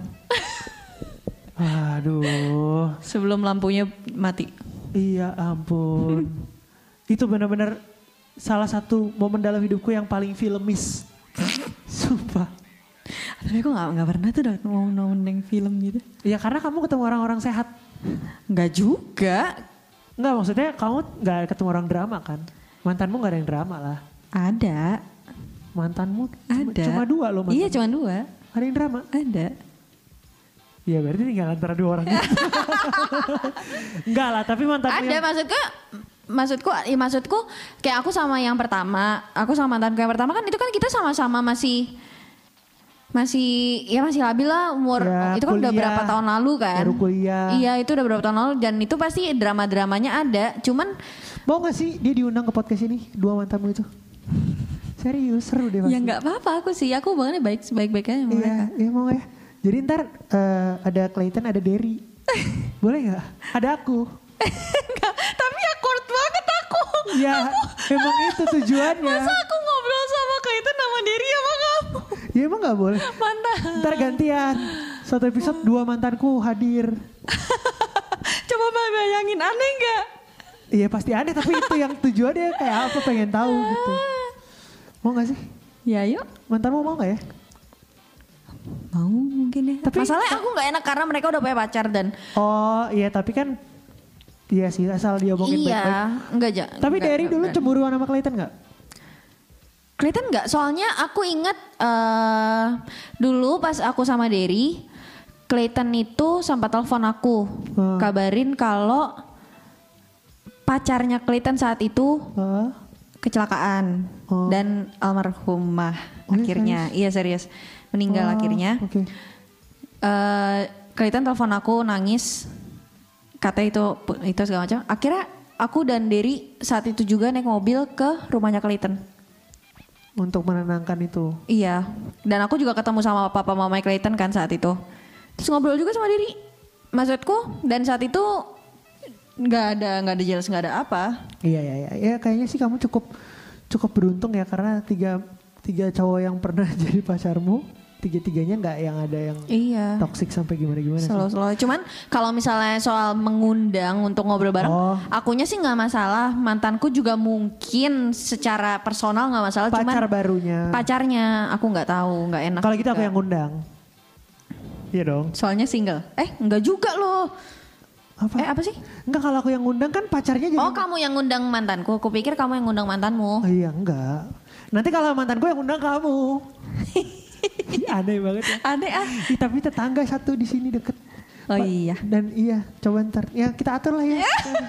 C: Aduh.
B: Sebelum lampunya mati.
C: Iya ampun. itu benar-benar salah satu momen dalam hidupku yang paling filmis. Sumpah.
B: Tapi aku gak, nggak pernah tuh dapet mau nonton film gitu.
C: Ya karena kamu ketemu orang-orang sehat.
B: Gak juga.
C: Enggak maksudnya kamu nggak ketemu orang drama kan? Mantanmu nggak ada yang drama lah.
B: Ada.
C: Mantanmu cuma,
B: Ada.
C: cuma dua loh mantan.
B: Iya cuma dua.
C: Ada yang drama.
B: Ada.
C: Ya berarti tinggal antara dua orang itu. Enggak lah tapi mantanmu
B: Ada
C: yang-
B: maksudku maksudku ya maksudku kayak aku sama yang pertama aku sama mantanku yang pertama kan itu kan kita sama-sama masih masih ya masih labil lah umur
C: Ya,
B: itu kan udah
C: kuliah.
B: berapa tahun lalu kan
C: Baru kuliah.
B: iya itu udah berapa tahun lalu dan itu pasti drama-dramanya ada cuman
C: Mau gak sih dia diundang ke podcast ini? Dua mantanmu itu. Serius seru deh pasti.
B: ya nggak apa-apa aku sih aku hubungannya baik baik baik aja sama mereka
C: Iya, iya mau ya. Jadi ntar eh, ada Clayton, ada Derry. Boleh nggak? Ada aku.
B: Nggak, tapi awkward banget aku
C: Ya, emang itu tujuannya.
B: masa aku ngobrol sama kayak itu nama diri sama kamu
C: Ya emang nggak boleh.
B: mantan
C: Ntar gantian. Satu episode dua mantanku hadir.
B: coba bayangin aneh nggak
C: Iya pasti aneh tapi itu yang tujuannya kayak apa pengen tahu gitu. Mau nggak sih?
B: ya yuk
C: Mantanmu mau nggak ya?
B: mau mungkin ya
C: Tapi-
B: masalahnya aku nggak enak karena mereka udah punya pacar dan
C: Oh iya tapi kan iya sih asal dia
B: iya
C: omongin baik-baik.
B: nggak ja
C: Tapi
B: nggak,
C: Derry
B: nggak,
C: dulu
B: nggak.
C: cemburuan sama Clayton nggak?
B: kelihatan nggak soalnya aku inget eh dulu pas aku sama Derry Clayton itu sempat telepon aku
C: Hmm.
B: kabarin kalau pacarnya Clayton saat itu
C: Hah?
B: kecelakaan
C: Oh.
B: dan almarhumah
C: Oh, iya,
B: akhirnya iya serius meninggal
C: Oh,
B: akhirnya
C: Oke.
B: eh Clayton telepon aku nangis kata itu itu segala macam akhirnya aku dan Derry saat itu juga naik mobil ke rumahnya Clayton
C: Untuk menenangkan itu.
B: iya dan aku juga ketemu sama papa mama Clayton kan saat itu terus ngobrol juga sama Derry maksudku dan saat itu nggak ada nggak ada jelas nggak ada apa
C: Iya iya iya. Ya kayaknya sih kamu cukup cukup beruntung ya karena tiga tiga cowok yang pernah jadi pacarmu tiga-tiganya nggak yang ada yang
B: iya
C: toksik sampai gimana-gimana sih.
B: slow slow cuman kalau misalnya soal mengundang untuk ngobrol bareng
C: Oh.
B: akunya sih nggak masalah mantanku juga mungkin secara personal nggak masalah cuman
C: Pacar barunya.
B: pacarnya aku nggak tahu nggak enak
C: Kalau gitu aku
B: juga.
C: yang ngundang. Iya dong.
B: soalnya single eh nggak juga loh
C: Apa?
B: eh apa sih
C: Enggak kalau aku yang ngundang kan pacarnya jadi.
B: oh kamu yang ngundang mantanku aku pikir kamu yang ngundang mantanmu
C: Oh, iya enggak. Nanti kalau mantan gue yang undang kamu. Aneh banget ya.
B: Aneh ah.
C: Ih, tapi tetangga satu di sini deket.
B: Oh
C: Pak,
B: iya.
C: Dan iya, coba ntar. Ya kita atur lah ya.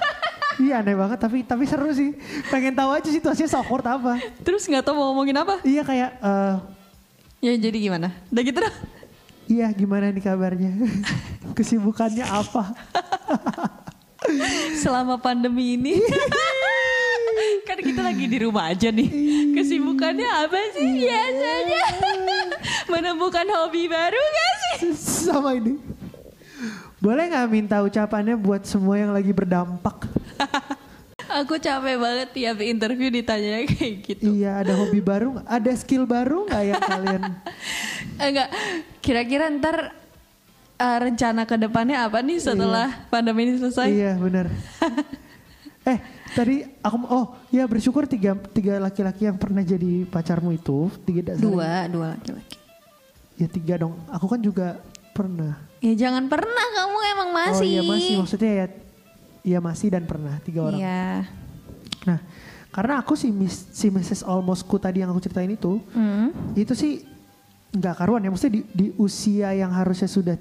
C: iya aneh banget tapi tapi seru sih. Pengen tahu aja situasinya awkward apa.
B: Terus nggak tahu mau ngomongin apa?
C: Iya kayak eh,
B: Ya jadi gimana? Udah gitu dah.
C: iya gimana nih kabarnya? Kesibukannya apa?
B: Selama pandemi ini. kan kita lagi di rumah aja nih. Kesibukannya apa sih biasanya? Menemukan hobi baru gak sih?
C: Sama ini. Boleh nggak minta ucapannya buat semua yang lagi berdampak?
B: Aku capek banget tiap interview ditanya kayak gitu.
C: Iya, ada hobi baru, nggak? ada skill baru nggak ya kalian?
B: Enggak, Eh, kira-kira ntar eh, rencana ke depannya apa nih setelah pandemi ini selesai?
C: Iya, benar. eh, tadi aku oh, ya bersyukur tiga tiga laki-laki yang pernah jadi pacarmu itu, tiga dasar.
B: Dua, dua laki-laki.
C: Ya tiga dong. Aku kan juga pernah.
B: Ya jangan pernah kamu emang
C: Oh
B: masih.
C: iya masih maksudnya ya Iya masih dan pernah tiga orang.
B: Iya.
C: Nah, karena aku si Miss, si Mrs. Almostku tadi yang aku ceritain itu,
B: Hmm.
C: itu sih nggak karuan ya. Maksudnya di, di usia yang harusnya sudah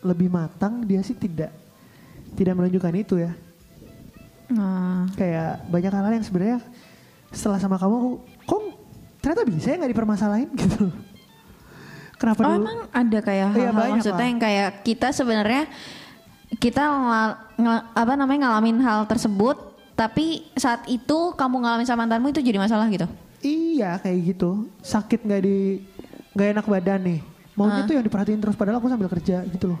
C: lebih matang, dia sih tidak tidak menunjukkan itu ya.
B: Nah,
C: Kayak banyak hal yang sebenarnya setelah sama kamu, aku, kok ternyata bisa ya nggak dipermasalahin gitu. Kenapa
B: Oh
C: dulu?
B: emang ada kayak
C: Iya,
B: hal-hal
C: banyak
B: maksudnya
C: lah.
B: yang kayak kita sebenarnya kita ngel- ngel- apa namanya ngalamin hal tersebut tapi saat itu kamu ngalamin sama mantanmu itu jadi masalah gitu.
C: Iya kayak gitu. Sakit nggak di nggak enak badan nih. Maunya
B: Ah.
C: tuh yang diperhatiin terus padahal aku sambil kerja gitu loh.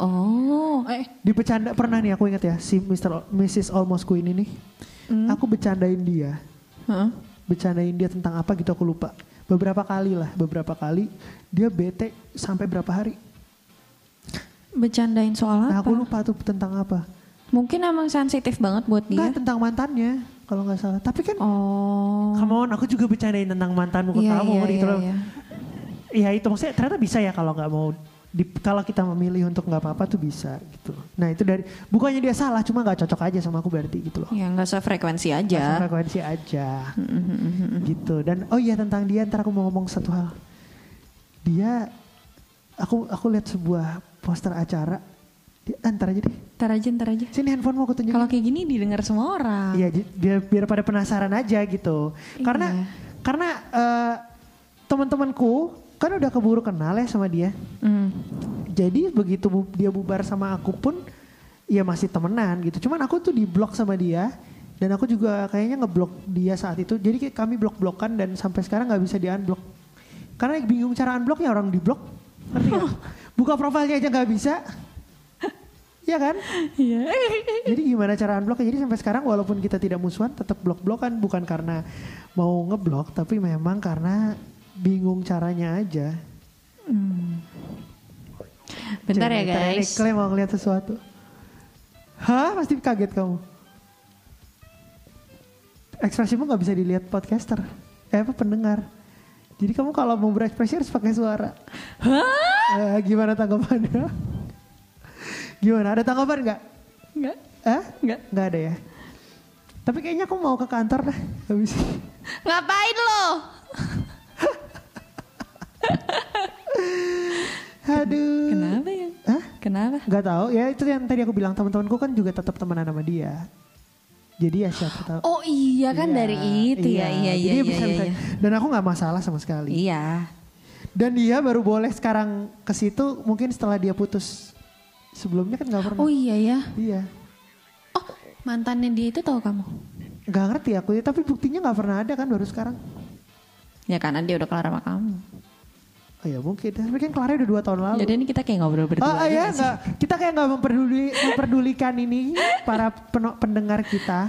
B: Oh, eh
C: Di bercanda pernah nih aku ingat ya si Mr. Al- Mrs. Almostku ini nih.
B: Hmm.
C: Aku bercandain dia.
B: Heeh.
C: Bercandain dia tentang apa gitu aku lupa. Beberapa kali lah, beberapa kali dia bete sampai berapa hari.
B: Bercandain soal apa?
C: Nah, aku lupa tuh tentang apa.
B: Mungkin emang sensitif banget buat dia.
C: Enggak tentang mantannya kalau nggak salah. Tapi kan
B: Iya. Oh.
C: come on, aku juga bercandain tentang mantanmu ke
B: Iya,
C: kamu
B: iya,
C: gitu
B: iya,
C: loh.
B: iya.
C: Iya itu maksudnya ternyata bisa ya kalau nggak mau di, kalau kita memilih untuk nggak apa-apa tuh bisa gitu. Nah itu dari bukannya dia salah cuma nggak cocok aja sama aku berarti gitu loh.
B: Ya nggak sefrekuensi
C: Langsung
B: aja.
C: Frekuensi aja
B: Mm-hmm.
C: gitu. Dan oh iya tentang dia ntar aku mau ngomong satu hal. Dia aku aku lihat sebuah poster acara. Dia, ah, ntar aja deh.
B: Ntar aja, ntar aja.
C: Sini handphone mau aku tunjukin.
B: Kalau kayak gini didengar semua orang.
C: Iya, j- biar, biar pada penasaran aja gitu. Karena
B: Iya.
C: karena eh, teman-temanku kan udah keburu kenal ya sama dia.
B: Hmm.
C: Jadi begitu bu- dia bubar sama aku pun ya masih temenan gitu. Cuman aku tuh diblok sama dia dan aku juga kayaknya ngeblok dia saat itu. Jadi kayak kami blok-blokan dan sampai sekarang nggak bisa di-unblock. Karena bingung cara unblocknya orang diblok. Ngerti nggak? Buka profilnya aja nggak bisa. Iya kan?
B: Iya.
C: Jadi gimana cara unblock? Jadi sampai sekarang walaupun kita tidak musuhan tetap blok-blokan bukan karena mau ngeblok tapi memang karena bingung caranya aja.
B: Bentar ya
C: Cewek, bentar
B: guys.
C: Nih, Clay mau ngeliat sesuatu. Hah? Pasti kaget kamu. Ekspresimu nggak bisa dilihat podcaster. Eh apa pendengar. Jadi kamu kalau mau berekspresi harus pakai suara.
B: Hah?
C: Eh, gimana tanggapannya? gimana? Ada tanggapan nggak?
B: Nggak.
C: Hah?
B: Nggak.
C: Nggak ada ya. Tapi kayaknya aku mau ke kantor dah habis. ini.
B: Ngapain lo?
C: Aduh.
B: Kenapa ya?
C: Hah?
B: Kenapa?
C: Nggak tahu. Ya itu yang tadi aku bilang teman-temanku kan juga tetap temenan sama dia. Jadi ya siapa tahu.
B: Oh iya kan dari itu ya iya iya
C: Jadi
B: iya
C: bisa-
B: iya.
C: bisa-
B: Iya.
C: Dan aku nggak masalah sama sekali.
B: Iya.
C: Dan dia baru boleh sekarang ke situ mungkin setelah dia putus. Sebelumnya kan nggak pernah.
B: Oh iya ya.
C: Iya.
B: Oh mantannya dia itu tahu kamu?
C: Nggak ngerti aku ya, tapi buktinya nggak pernah ada kan baru sekarang.
B: Ya karena dia udah kelar sama kamu.
C: Oh ya mungkin, tapi kan Clara udah dua tahun lalu.
B: Jadi ini kita kayak ngobrol berdua.
C: Oh
B: aja
C: iya,
B: nggak sih?
C: nggak. kita kayak nggak memperduli, memperdulikan ini para peno- pendengar kita.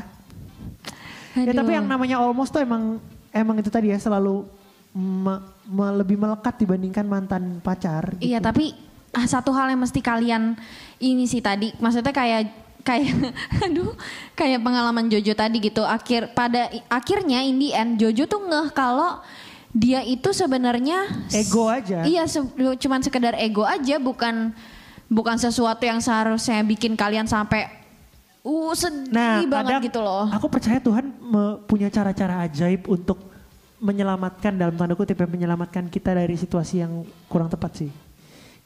C: Ya tapi
B: Aduh.
C: yang namanya almost tuh emang emang itu tadi ya selalu me- me- lebih melekat dibandingkan mantan pacar. gitu.
B: Iya tapi ah, satu hal yang mesti kalian ini sih tadi maksudnya kayak kayak aduh kayak pengalaman Jojo tadi gitu akhir pada i- akhirnya in the end Jojo tuh ngeh kalau dia itu sebenarnya s-
C: Ego aja.
B: Iya se- cuman sekedar ego aja bukan bukan sesuatu yang seharusnya bikin kalian sampai uh sedih
C: Nah,
B: banget
C: kadang
B: gitu loh.
C: Aku percaya Tuhan me- punya cara-cara ajaib untuk menyelamatkan dalam tanda kutip ya, menyelamatkan kita dari situasi yang kurang tepat sih.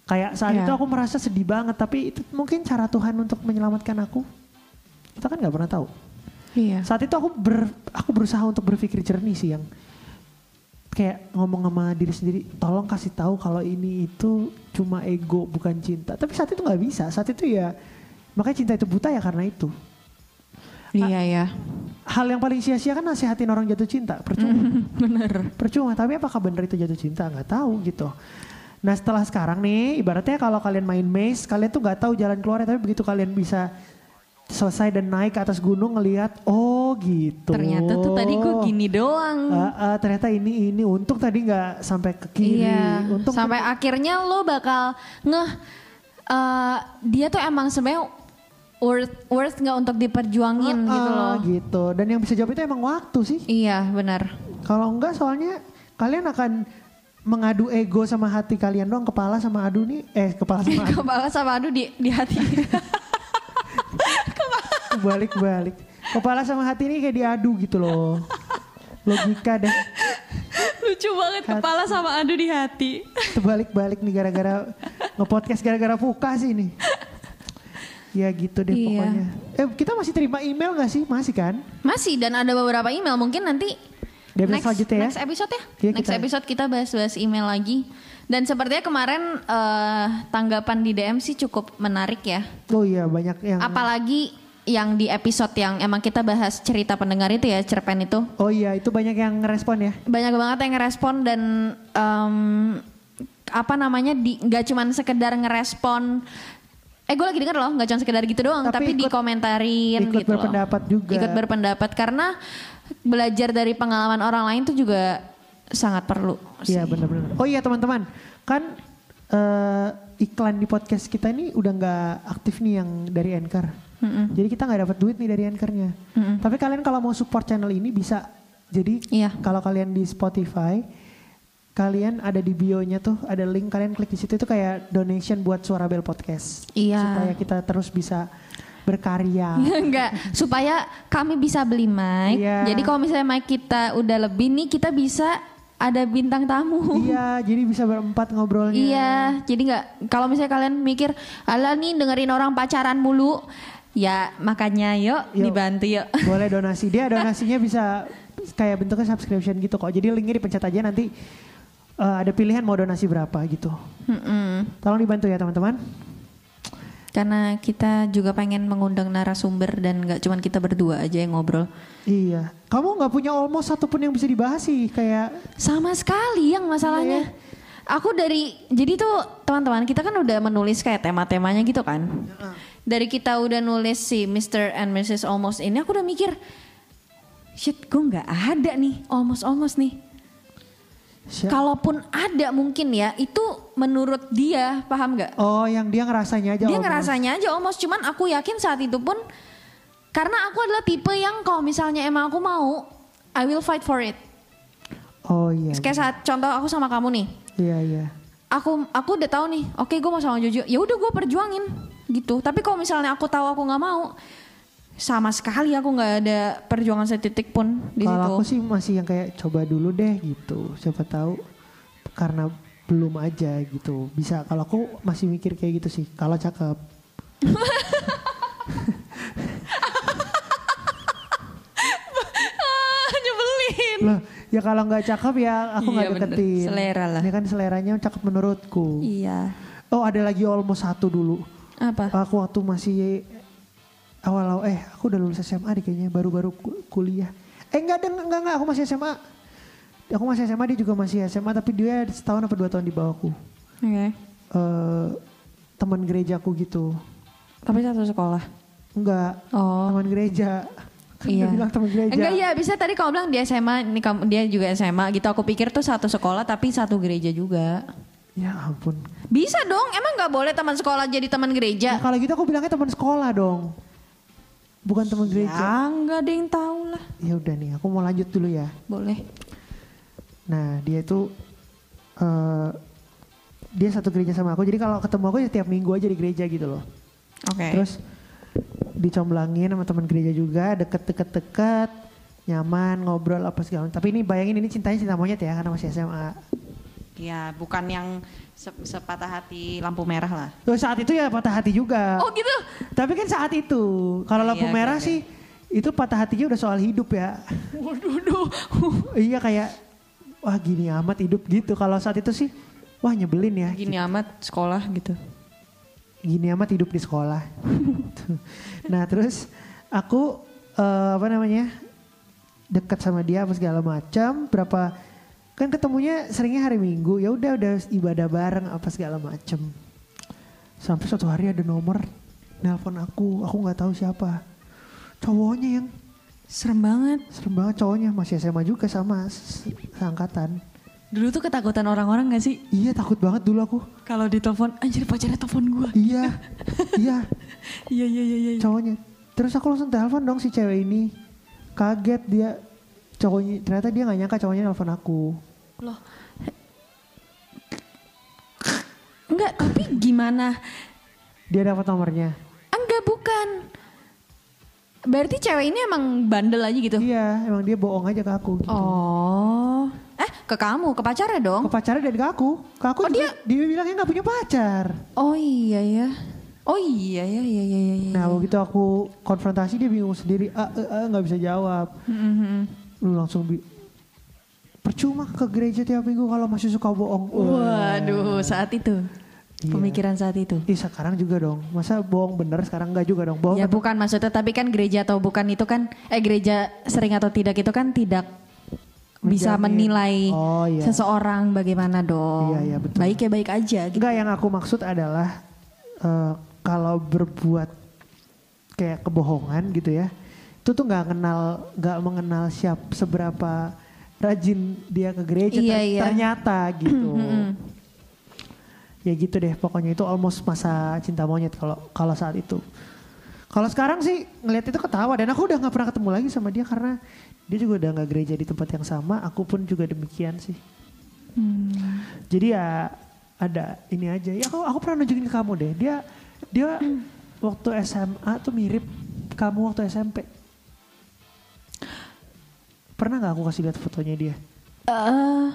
C: Kayak saat
B: Iya.
C: itu aku merasa sedih banget, tapi itu mungkin cara Tuhan untuk menyelamatkan aku. Kita kan nggak pernah tahu.
B: Iya.
C: Saat itu aku ber, aku berusaha untuk berpikir jernih sih yang kayak ngomong sama diri sendiri, tolong kasih tahu kalau ini itu cuma ego bukan cinta. Tapi saat itu nggak bisa. Saat itu ya makanya cinta itu buta ya karena itu.
B: Iya ya.
C: Hal yang paling sia-sia kan nasihatin orang jatuh cinta, percuma.
B: Bener.
C: percuma, tapi apakah benar itu jatuh cinta? Nggak tahu gitu. Nah setelah sekarang nih, ibaratnya kalau kalian main maze, kalian tuh nggak tahu jalan keluarnya, tapi begitu kalian bisa selesai dan naik ke atas gunung ngelihat, oh gitu.
B: Ternyata tuh tadi gue gini doang.
C: Eh, eh, ternyata ini ini untung tadi nggak sampai ke kiri
B: Iya.
C: untung
B: Sampai akhirnya lo bakal ngeh eh, dia tuh emang sebenarnya worth worth nggak untuk diperjuangin
C: Eh, eh,
B: gitu loh.
C: gitu. dan yang bisa jawab itu emang waktu sih
B: Iya benar.
C: kalau enggak soalnya kalian akan mengadu ego sama hati kalian doang kepala sama adu nih eh kepala sama adu
B: Kepala sama aduh di, di hati.
C: balik balik kepala sama hati ini kayak diadu gitu loh logika deh
B: Lucu banget kepala sama aduh di hati.
C: terbalik balik nih gara-gara ngepodcast gara-gara fuka sih ini ya gitu deh
B: Iya.
C: pokoknya eh kita masih terima email nggak sih masih kan
B: Masih dan ada beberapa email mungkin nanti
C: Di episode selanjutnya ya.
B: next episode ya.
C: Iya,
B: next
C: kita-
B: episode kita bahas-bahas email lagi. Dan sepertinya kemarin eh, tanggapan di DM sih cukup menarik ya.
C: oh iya banyak yang
B: Apalagi yang di episode yang emang kita bahas cerita pendengar itu ya cerpen itu.
C: Oh iya, itu banyak yang ngerespon ya.
B: Banyak banget yang ngerespon dan em, apa namanya di nggak cuman sekedar ngerespon Eh gue lagi denger loh, nggak cuma sekedar gitu doang,
C: Tapi
B: tapi,
C: ikut-
B: dikomentarin gitu
C: ikut
B: loh.
C: berpendapat juga.
B: Ikut berpendapat karena belajar dari pengalaman orang lain tuh juga sangat perlu. sih.
C: Iya benar-benar. Oh iya teman-teman, kan eh, iklan di podcast kita ini udah nggak aktif nih yang dari Anchor. Jadi kita nggak dapat duit nih dari Anchornya. Tapi kalian kalau mau support channel ini bisa. Jadi
B: Iya.
C: kalau kalian di Spotify, kalian ada di bio-nya tuh ada link kalian klik di situ itu kayak donation buat Suara Bel Podcast.
B: Iya.
C: Supaya kita terus bisa berkarya.
B: Enggak, supaya kami bisa beli mic.
C: Iya.
B: Jadi kalau misalnya mic kita udah lebih nih, kita bisa ada bintang tamu.
C: iya, jadi bisa berempat ngobrolnya.
B: Iya, jadi nggak kalau misalnya kalian mikir, ala nih dengerin orang pacaran mulu, ya makanya yuk,
C: Yuk.
B: dibantu yuk.
C: Boleh donasi. Dia donasinya bisa kayak bentuknya subscription gitu kok. Jadi linknya dipencet aja nanti eh, ada pilihan mau donasi berapa gitu.
B: Mm-mm.
C: Tolong dibantu ya teman-teman.
B: Karena kita juga pengen mengundang narasumber dan nggak cuman kita berdua aja yang ngobrol.
C: Iya. Kamu nggak punya almost satupun yang bisa dibahas sih kayak
B: Sama sekali yang masalahnya. Aku dari jadi tuh teman-teman kita kan udah menulis kayak tema-temanya gitu kan. Dari kita udah nulis si Mr. and Mrs. Almost ini aku udah mikir shit gue nggak ada nih almost almost nih.
C: Sya-
B: Kalaupun ada mungkin ya itu menurut dia paham nggak?
C: Oh, yang dia ngerasanya
B: Dia
C: aja. almost.
B: ngerasanya aja almost cuman aku yakin saat itu pun karena aku adalah tipe yang kalau misalnya emang aku mau I will fight for it.
C: Oh iya.
B: Kayak saat contoh aku sama kamu nih.
C: Iya, iya.
B: aku aku udah tahu nih oke gue mau sama Jojo ya udah gue perjuangin gitu tapi kalau misalnya aku tahu aku nggak mau sama sekali aku nggak ada perjuangan setitik pun di situ
C: Kalau aku sih masih yang kayak coba dulu deh gitu. Siapa tahu karena belum aja gitu. Bisa kalau aku masih mikir kayak gitu sih. Kalau cakep.
B: Ah, nyebelin
C: Loh, ya kalau nggak cakep ya aku nggak
B: Iya, bener.
C: deketin.
B: Selera lah.
C: Ini kan seleranya cakep menurutku.
B: iya
C: Oh, ada lagi almost satu dulu.
B: apa
C: Aku waktu masih awal awal eh aku udah lulus SMA deh kayaknya baru-baru ku- kuliah. Eh enggak deng, enggak enggak aku masih SMA. Aku masih SMA dia juga masih SMA tapi dia setahun apa dua tahun di bawahku.
B: oke
C: Eh teman gerejaku gitu.
B: tapi satu sekolah
C: Enggak,
B: oh
C: teman gereja. Kan dia
B: iya
C: bilang teman gereja.
B: enggak ya bisa tadi kamu bilang dia SMA ini kamu dia juga SMA gitu aku pikir tuh satu sekolah tapi satu gereja juga
C: Ya ampun.
B: bisa dong emang nggak boleh teman sekolah jadi teman
C: Ya,
B: gereja
C: kalau gitu aku bilangnya teman sekolah dong. Bukan teman gereja.
B: ya nggak ada yang tahu lah
C: ya udah nih aku mau lanjut dulu ya
B: boleh
C: nah dia itu eh dia satu gereja sama aku jadi kalau ketemu aku ya tiap minggu aja di gereja gitu loh
B: oke
C: terus dicomblangin sama teman gereja juga deket-deket-deket nyaman ngobrol apa segala macam. Tapi ini bayangin ini cintanya cinta monyet ya karena masih SMA.
E: Ya, bukan yang se- sepatah hati lampu merah lah.
C: Loh, saat itu ya patah hati juga.
B: Oh gitu.
C: Tapi kan saat itu kalau
E: Iya,
C: lampu
E: oke,
C: merah
E: oke.
C: sih itu patah hatinya udah soal hidup ya.
B: Waduh, duh.
C: iya kayak wah gini amat hidup gitu. Kalau saat itu sih wah nyebelin ya.
E: Gini amat sekolah gitu.
C: gini amat hidup di sekolah. Tuh. nah terus aku eh, apa namanya dekat sama dia apa segala macam berapa kan ketemunya seringnya hari minggu ya udah udah ibadah bareng apa segala macam sampai suatu hari ada nomor nelpon aku aku nggak tahu siapa cowoknya yang
B: Serem banget.
C: serem banget cowoknya masih SMA juga sama se- seangkatan
B: Dulu tuh ketakutan orang-orang gak sih?
C: iya takut banget dulu aku
B: Kalau ditelepon, anjir pacarnya telepon gua.
C: iya iya
B: Iya, iya, iya, iya.
C: cowoknya terus aku langsung telepon dong si cewek ini kaget dia cowoknya ternyata dia nggak nyangka cowoknya nelfon aku
B: Loh. Enggak, tapi gimana?
C: dia dapat nomornya
B: Enggak, bukan. Berarti cewek ini emang bandel aja gitu?
C: iya emang dia bohong aja ke aku gitu.
B: Oh. Eh, ke kamu, ke pacarnya dong?
C: ke pacarnya dan ke aku ke aku
B: Oh,
C: juga, dia bilangnya nggak punya pacar
B: Oh iya ya. Oh iya ya, iya, iya, iya. iya.
C: nah begitu aku konfrontasi dia bingung sendiri "Ah, eh, ah," nggak bisa jawab
B: Mhm.
C: lu langsung bi- percuma ke gereja tiap minggu kalau masih suka bohong
B: Waduh, saat itu.
C: Iya.
B: Pemikiran saat itu.
C: Ih sekarang juga dong masa bohong bener sekarang nggak juga dong bohong
B: Ya bukan maksudnya, tapi kan gereja atau bukan itu kan, eh gereja sering atau tidak itu kan tidak bisa
C: Menjamin.
B: menilai
C: Oh, iya.
B: seseorang bagaimana dong.
C: Iya, iya, betul.
B: Baik ya baik aja gitu.
C: Enggak yang aku maksud adalah eh, kalau berbuat kayak kebohongan gitu ya, itu tuh nggak kenal, nggak mengenal siap seberapa rajin dia ke gereja
B: Iya,
C: ter-
B: iya.
C: ternyata gitu. ya gitu deh, pokoknya itu almost masa cinta monyet kalau kalau saat itu. Kalau sekarang sih ngeliat itu ketawa dan aku udah nggak pernah ketemu lagi sama dia karena dia juga udah nggak gereja di tempat yang sama. Aku pun juga demikian sih.
B: Hmm.
C: Jadi ya ada ini aja. Ya aku, aku pernah nunjukin ke kamu deh. Dia dia
B: Hmm.
C: waktu SMA tuh mirip kamu waktu SMP. Pernah nggak aku kasih lihat fotonya dia?
B: Eh,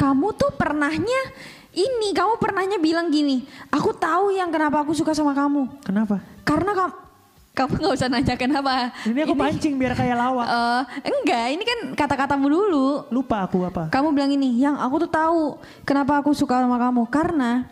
B: kamu tuh pernahnya ini, kamu pernahnya bilang gini, aku tahu yang kenapa aku suka sama kamu.
C: Kenapa?
B: Karena kamu kamu nggak usah nanya kenapa.
C: Ini aku pancing biar kayak lawak.
B: Eh, enggak, ini kan kata-katamu dulu.
C: Lupa aku apa?
B: Kamu bilang ini, yang aku tuh tahu kenapa aku suka sama kamu karena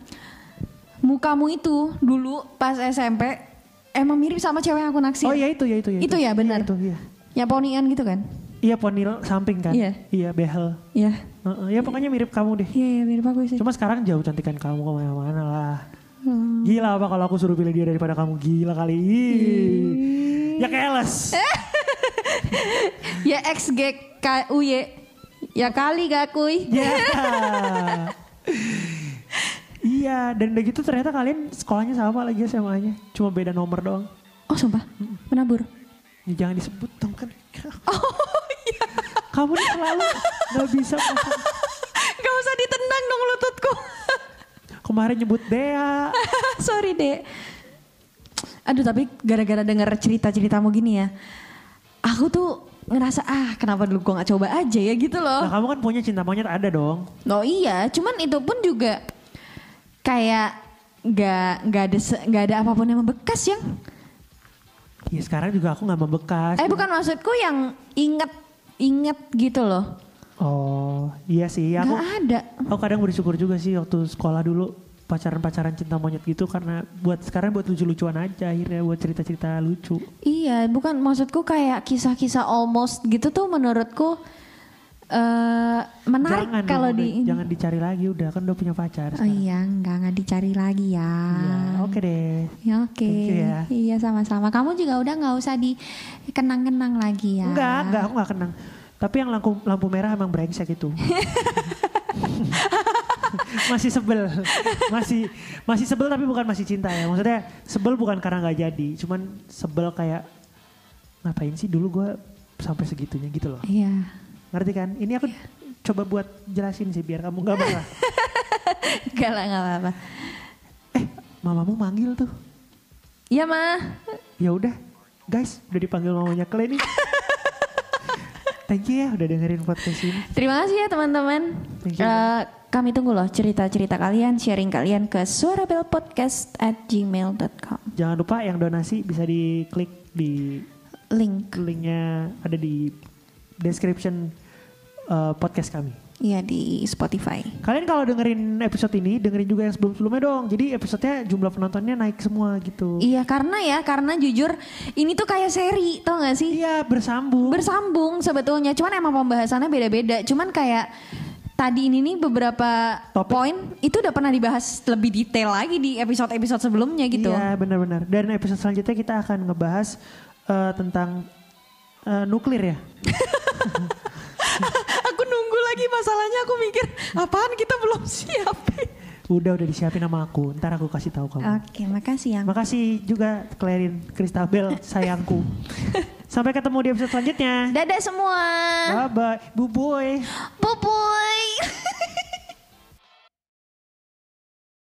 B: mukamu itu dulu pas SMP emang mirip sama cewek yang aku naksir.
C: Oh iya itu ya itu ya.
B: Itu ya, benar.
C: Iya, Itu iya.
B: Yang ponian gitu kan?
C: Iya ponil samping kan?
B: Iya.
C: Iya behel.
B: Iya.
C: Heeh, ya pokoknya mirip kamu deh.
B: Iya, iya mirip aku sih.
C: Cuma sekarang jauh cantikan kamu kemana-mana lah.
B: Hmm.
C: Gila apa kalau aku suruh pilih dia daripada kamu gila kali. Ih. Ya keles.
B: Eh. Ya XGKUY. Ya kali gak kuy.
C: Ya. Iya, dan udah gitu ternyata kalian sekolahnya sama lagi ya, SMA-nya. Cuma beda nomor doang.
B: Oh sumpah, menabur.
C: Ya, jangan disebut dong kan. Oh iya. Kamu nih selalu gak bisa. ngomong.
B: Gak usah ditendang dong lututku.
C: Kemarin nyebut Dea.
B: Sorry dek. Aduh tapi gara-gara denger cerita-ceritamu gini ya. Aku tuh ngerasa ah kenapa dulu gua gak coba aja ya gitu
C: Nah,
B: loh.
C: kamu kan punya cinta monyet ada dong.
B: Oh iya, cuman itu pun juga kayak nggak nggak ada se- nggak ada apapun yang membekas yang.
C: Ya sekarang juga aku gak membekas.
B: Eh bukan maksudku yang inget inget gitu loh.
C: Oh, iya sih.
B: Nggak
C: Aku
B: ada.
C: Aku kadang bersyukur juga sih waktu sekolah dulu pacaran-pacaran cinta monyet gitu karena buat sekarang buat lucu-lucuan aja akhirnya buat cerita-cerita lucu.
B: Iya, bukan maksudku kayak kisah-kisah almost gitu tuh menurutku eh menarik
C: jangan dong,
B: kalau
C: udah,
B: di
C: jangan dicari lagi udah kan udah punya pacar.
B: Oh
C: sekarang.
B: iya, nggak nggak dicari lagi ya.
C: Iya, Oke deh.
B: Ya oke.
C: Thank you ya.
B: Iya sama-sama. Kamu juga udah nggak usah dikenang-kenang lagi ya.
C: Enggak, enggak aku enggak kenang. Tapi yang lampu lampu merah emang brengsek itu. masih sebel. Masih masih sebel tapi bukan masih cinta ya. Maksudnya sebel bukan karena nggak jadi, cuman sebel kayak ngapain sih dulu gua sampai segitunya gitu loh.
B: Iya.
C: Ngerti kan? Ini aku coba buat jelasin sih biar kamu gak marah.
B: Enggak lah, nggak apa-apa.
C: eh, mamamu manggil tuh.
B: Iya mah.
C: Ya udah, guys, udah dipanggil mamanya Kle nih. Thank you ya udah dengerin podcast ini.
B: Terima kasih ya teman-teman.
C: Thank you.
B: Eh, kami tunggu loh cerita-cerita kalian, sharing kalian ke suarabelpodcast at gmail.com.
C: Jangan lupa yang donasi bisa diklik di
B: Link.
C: linknya ada di description eh, podcast kami.
B: Iya di Spotify.
C: Kalian kalau dengerin episode ini, dengerin juga yang sebelum-sebelumnya dong. Jadi episodenya jumlah penontonnya naik semua gitu.
B: Iya karena ya, karena jujur ini tuh kayak seri tau gak sih?
C: Iya, bersambung.
B: Bersambung sebetulnya, cuman emang pembahasannya beda-beda. Cuman kayak tadi ini nih beberapa
C: Topik.
B: poin itu udah pernah dibahas lebih detail lagi di episode-episode sebelumnya gitu.
C: Iya, benar-benar. Dan episode selanjutnya kita akan ngebahas eh, tentang eh, nuklir ya.
B: aku nunggu lagi masalahnya aku mikir apaan kita belum siap.
C: Udah udah disiapin sama aku. Ntar aku kasih tahu kamu.
B: Oke, makasih ya. yang
C: Makasih juga Clarin Kristabel sayangku. Sampai ketemu di episode selanjutnya.
B: Dadah semua.
C: Bye bye. Bu boy.
B: Bye bye.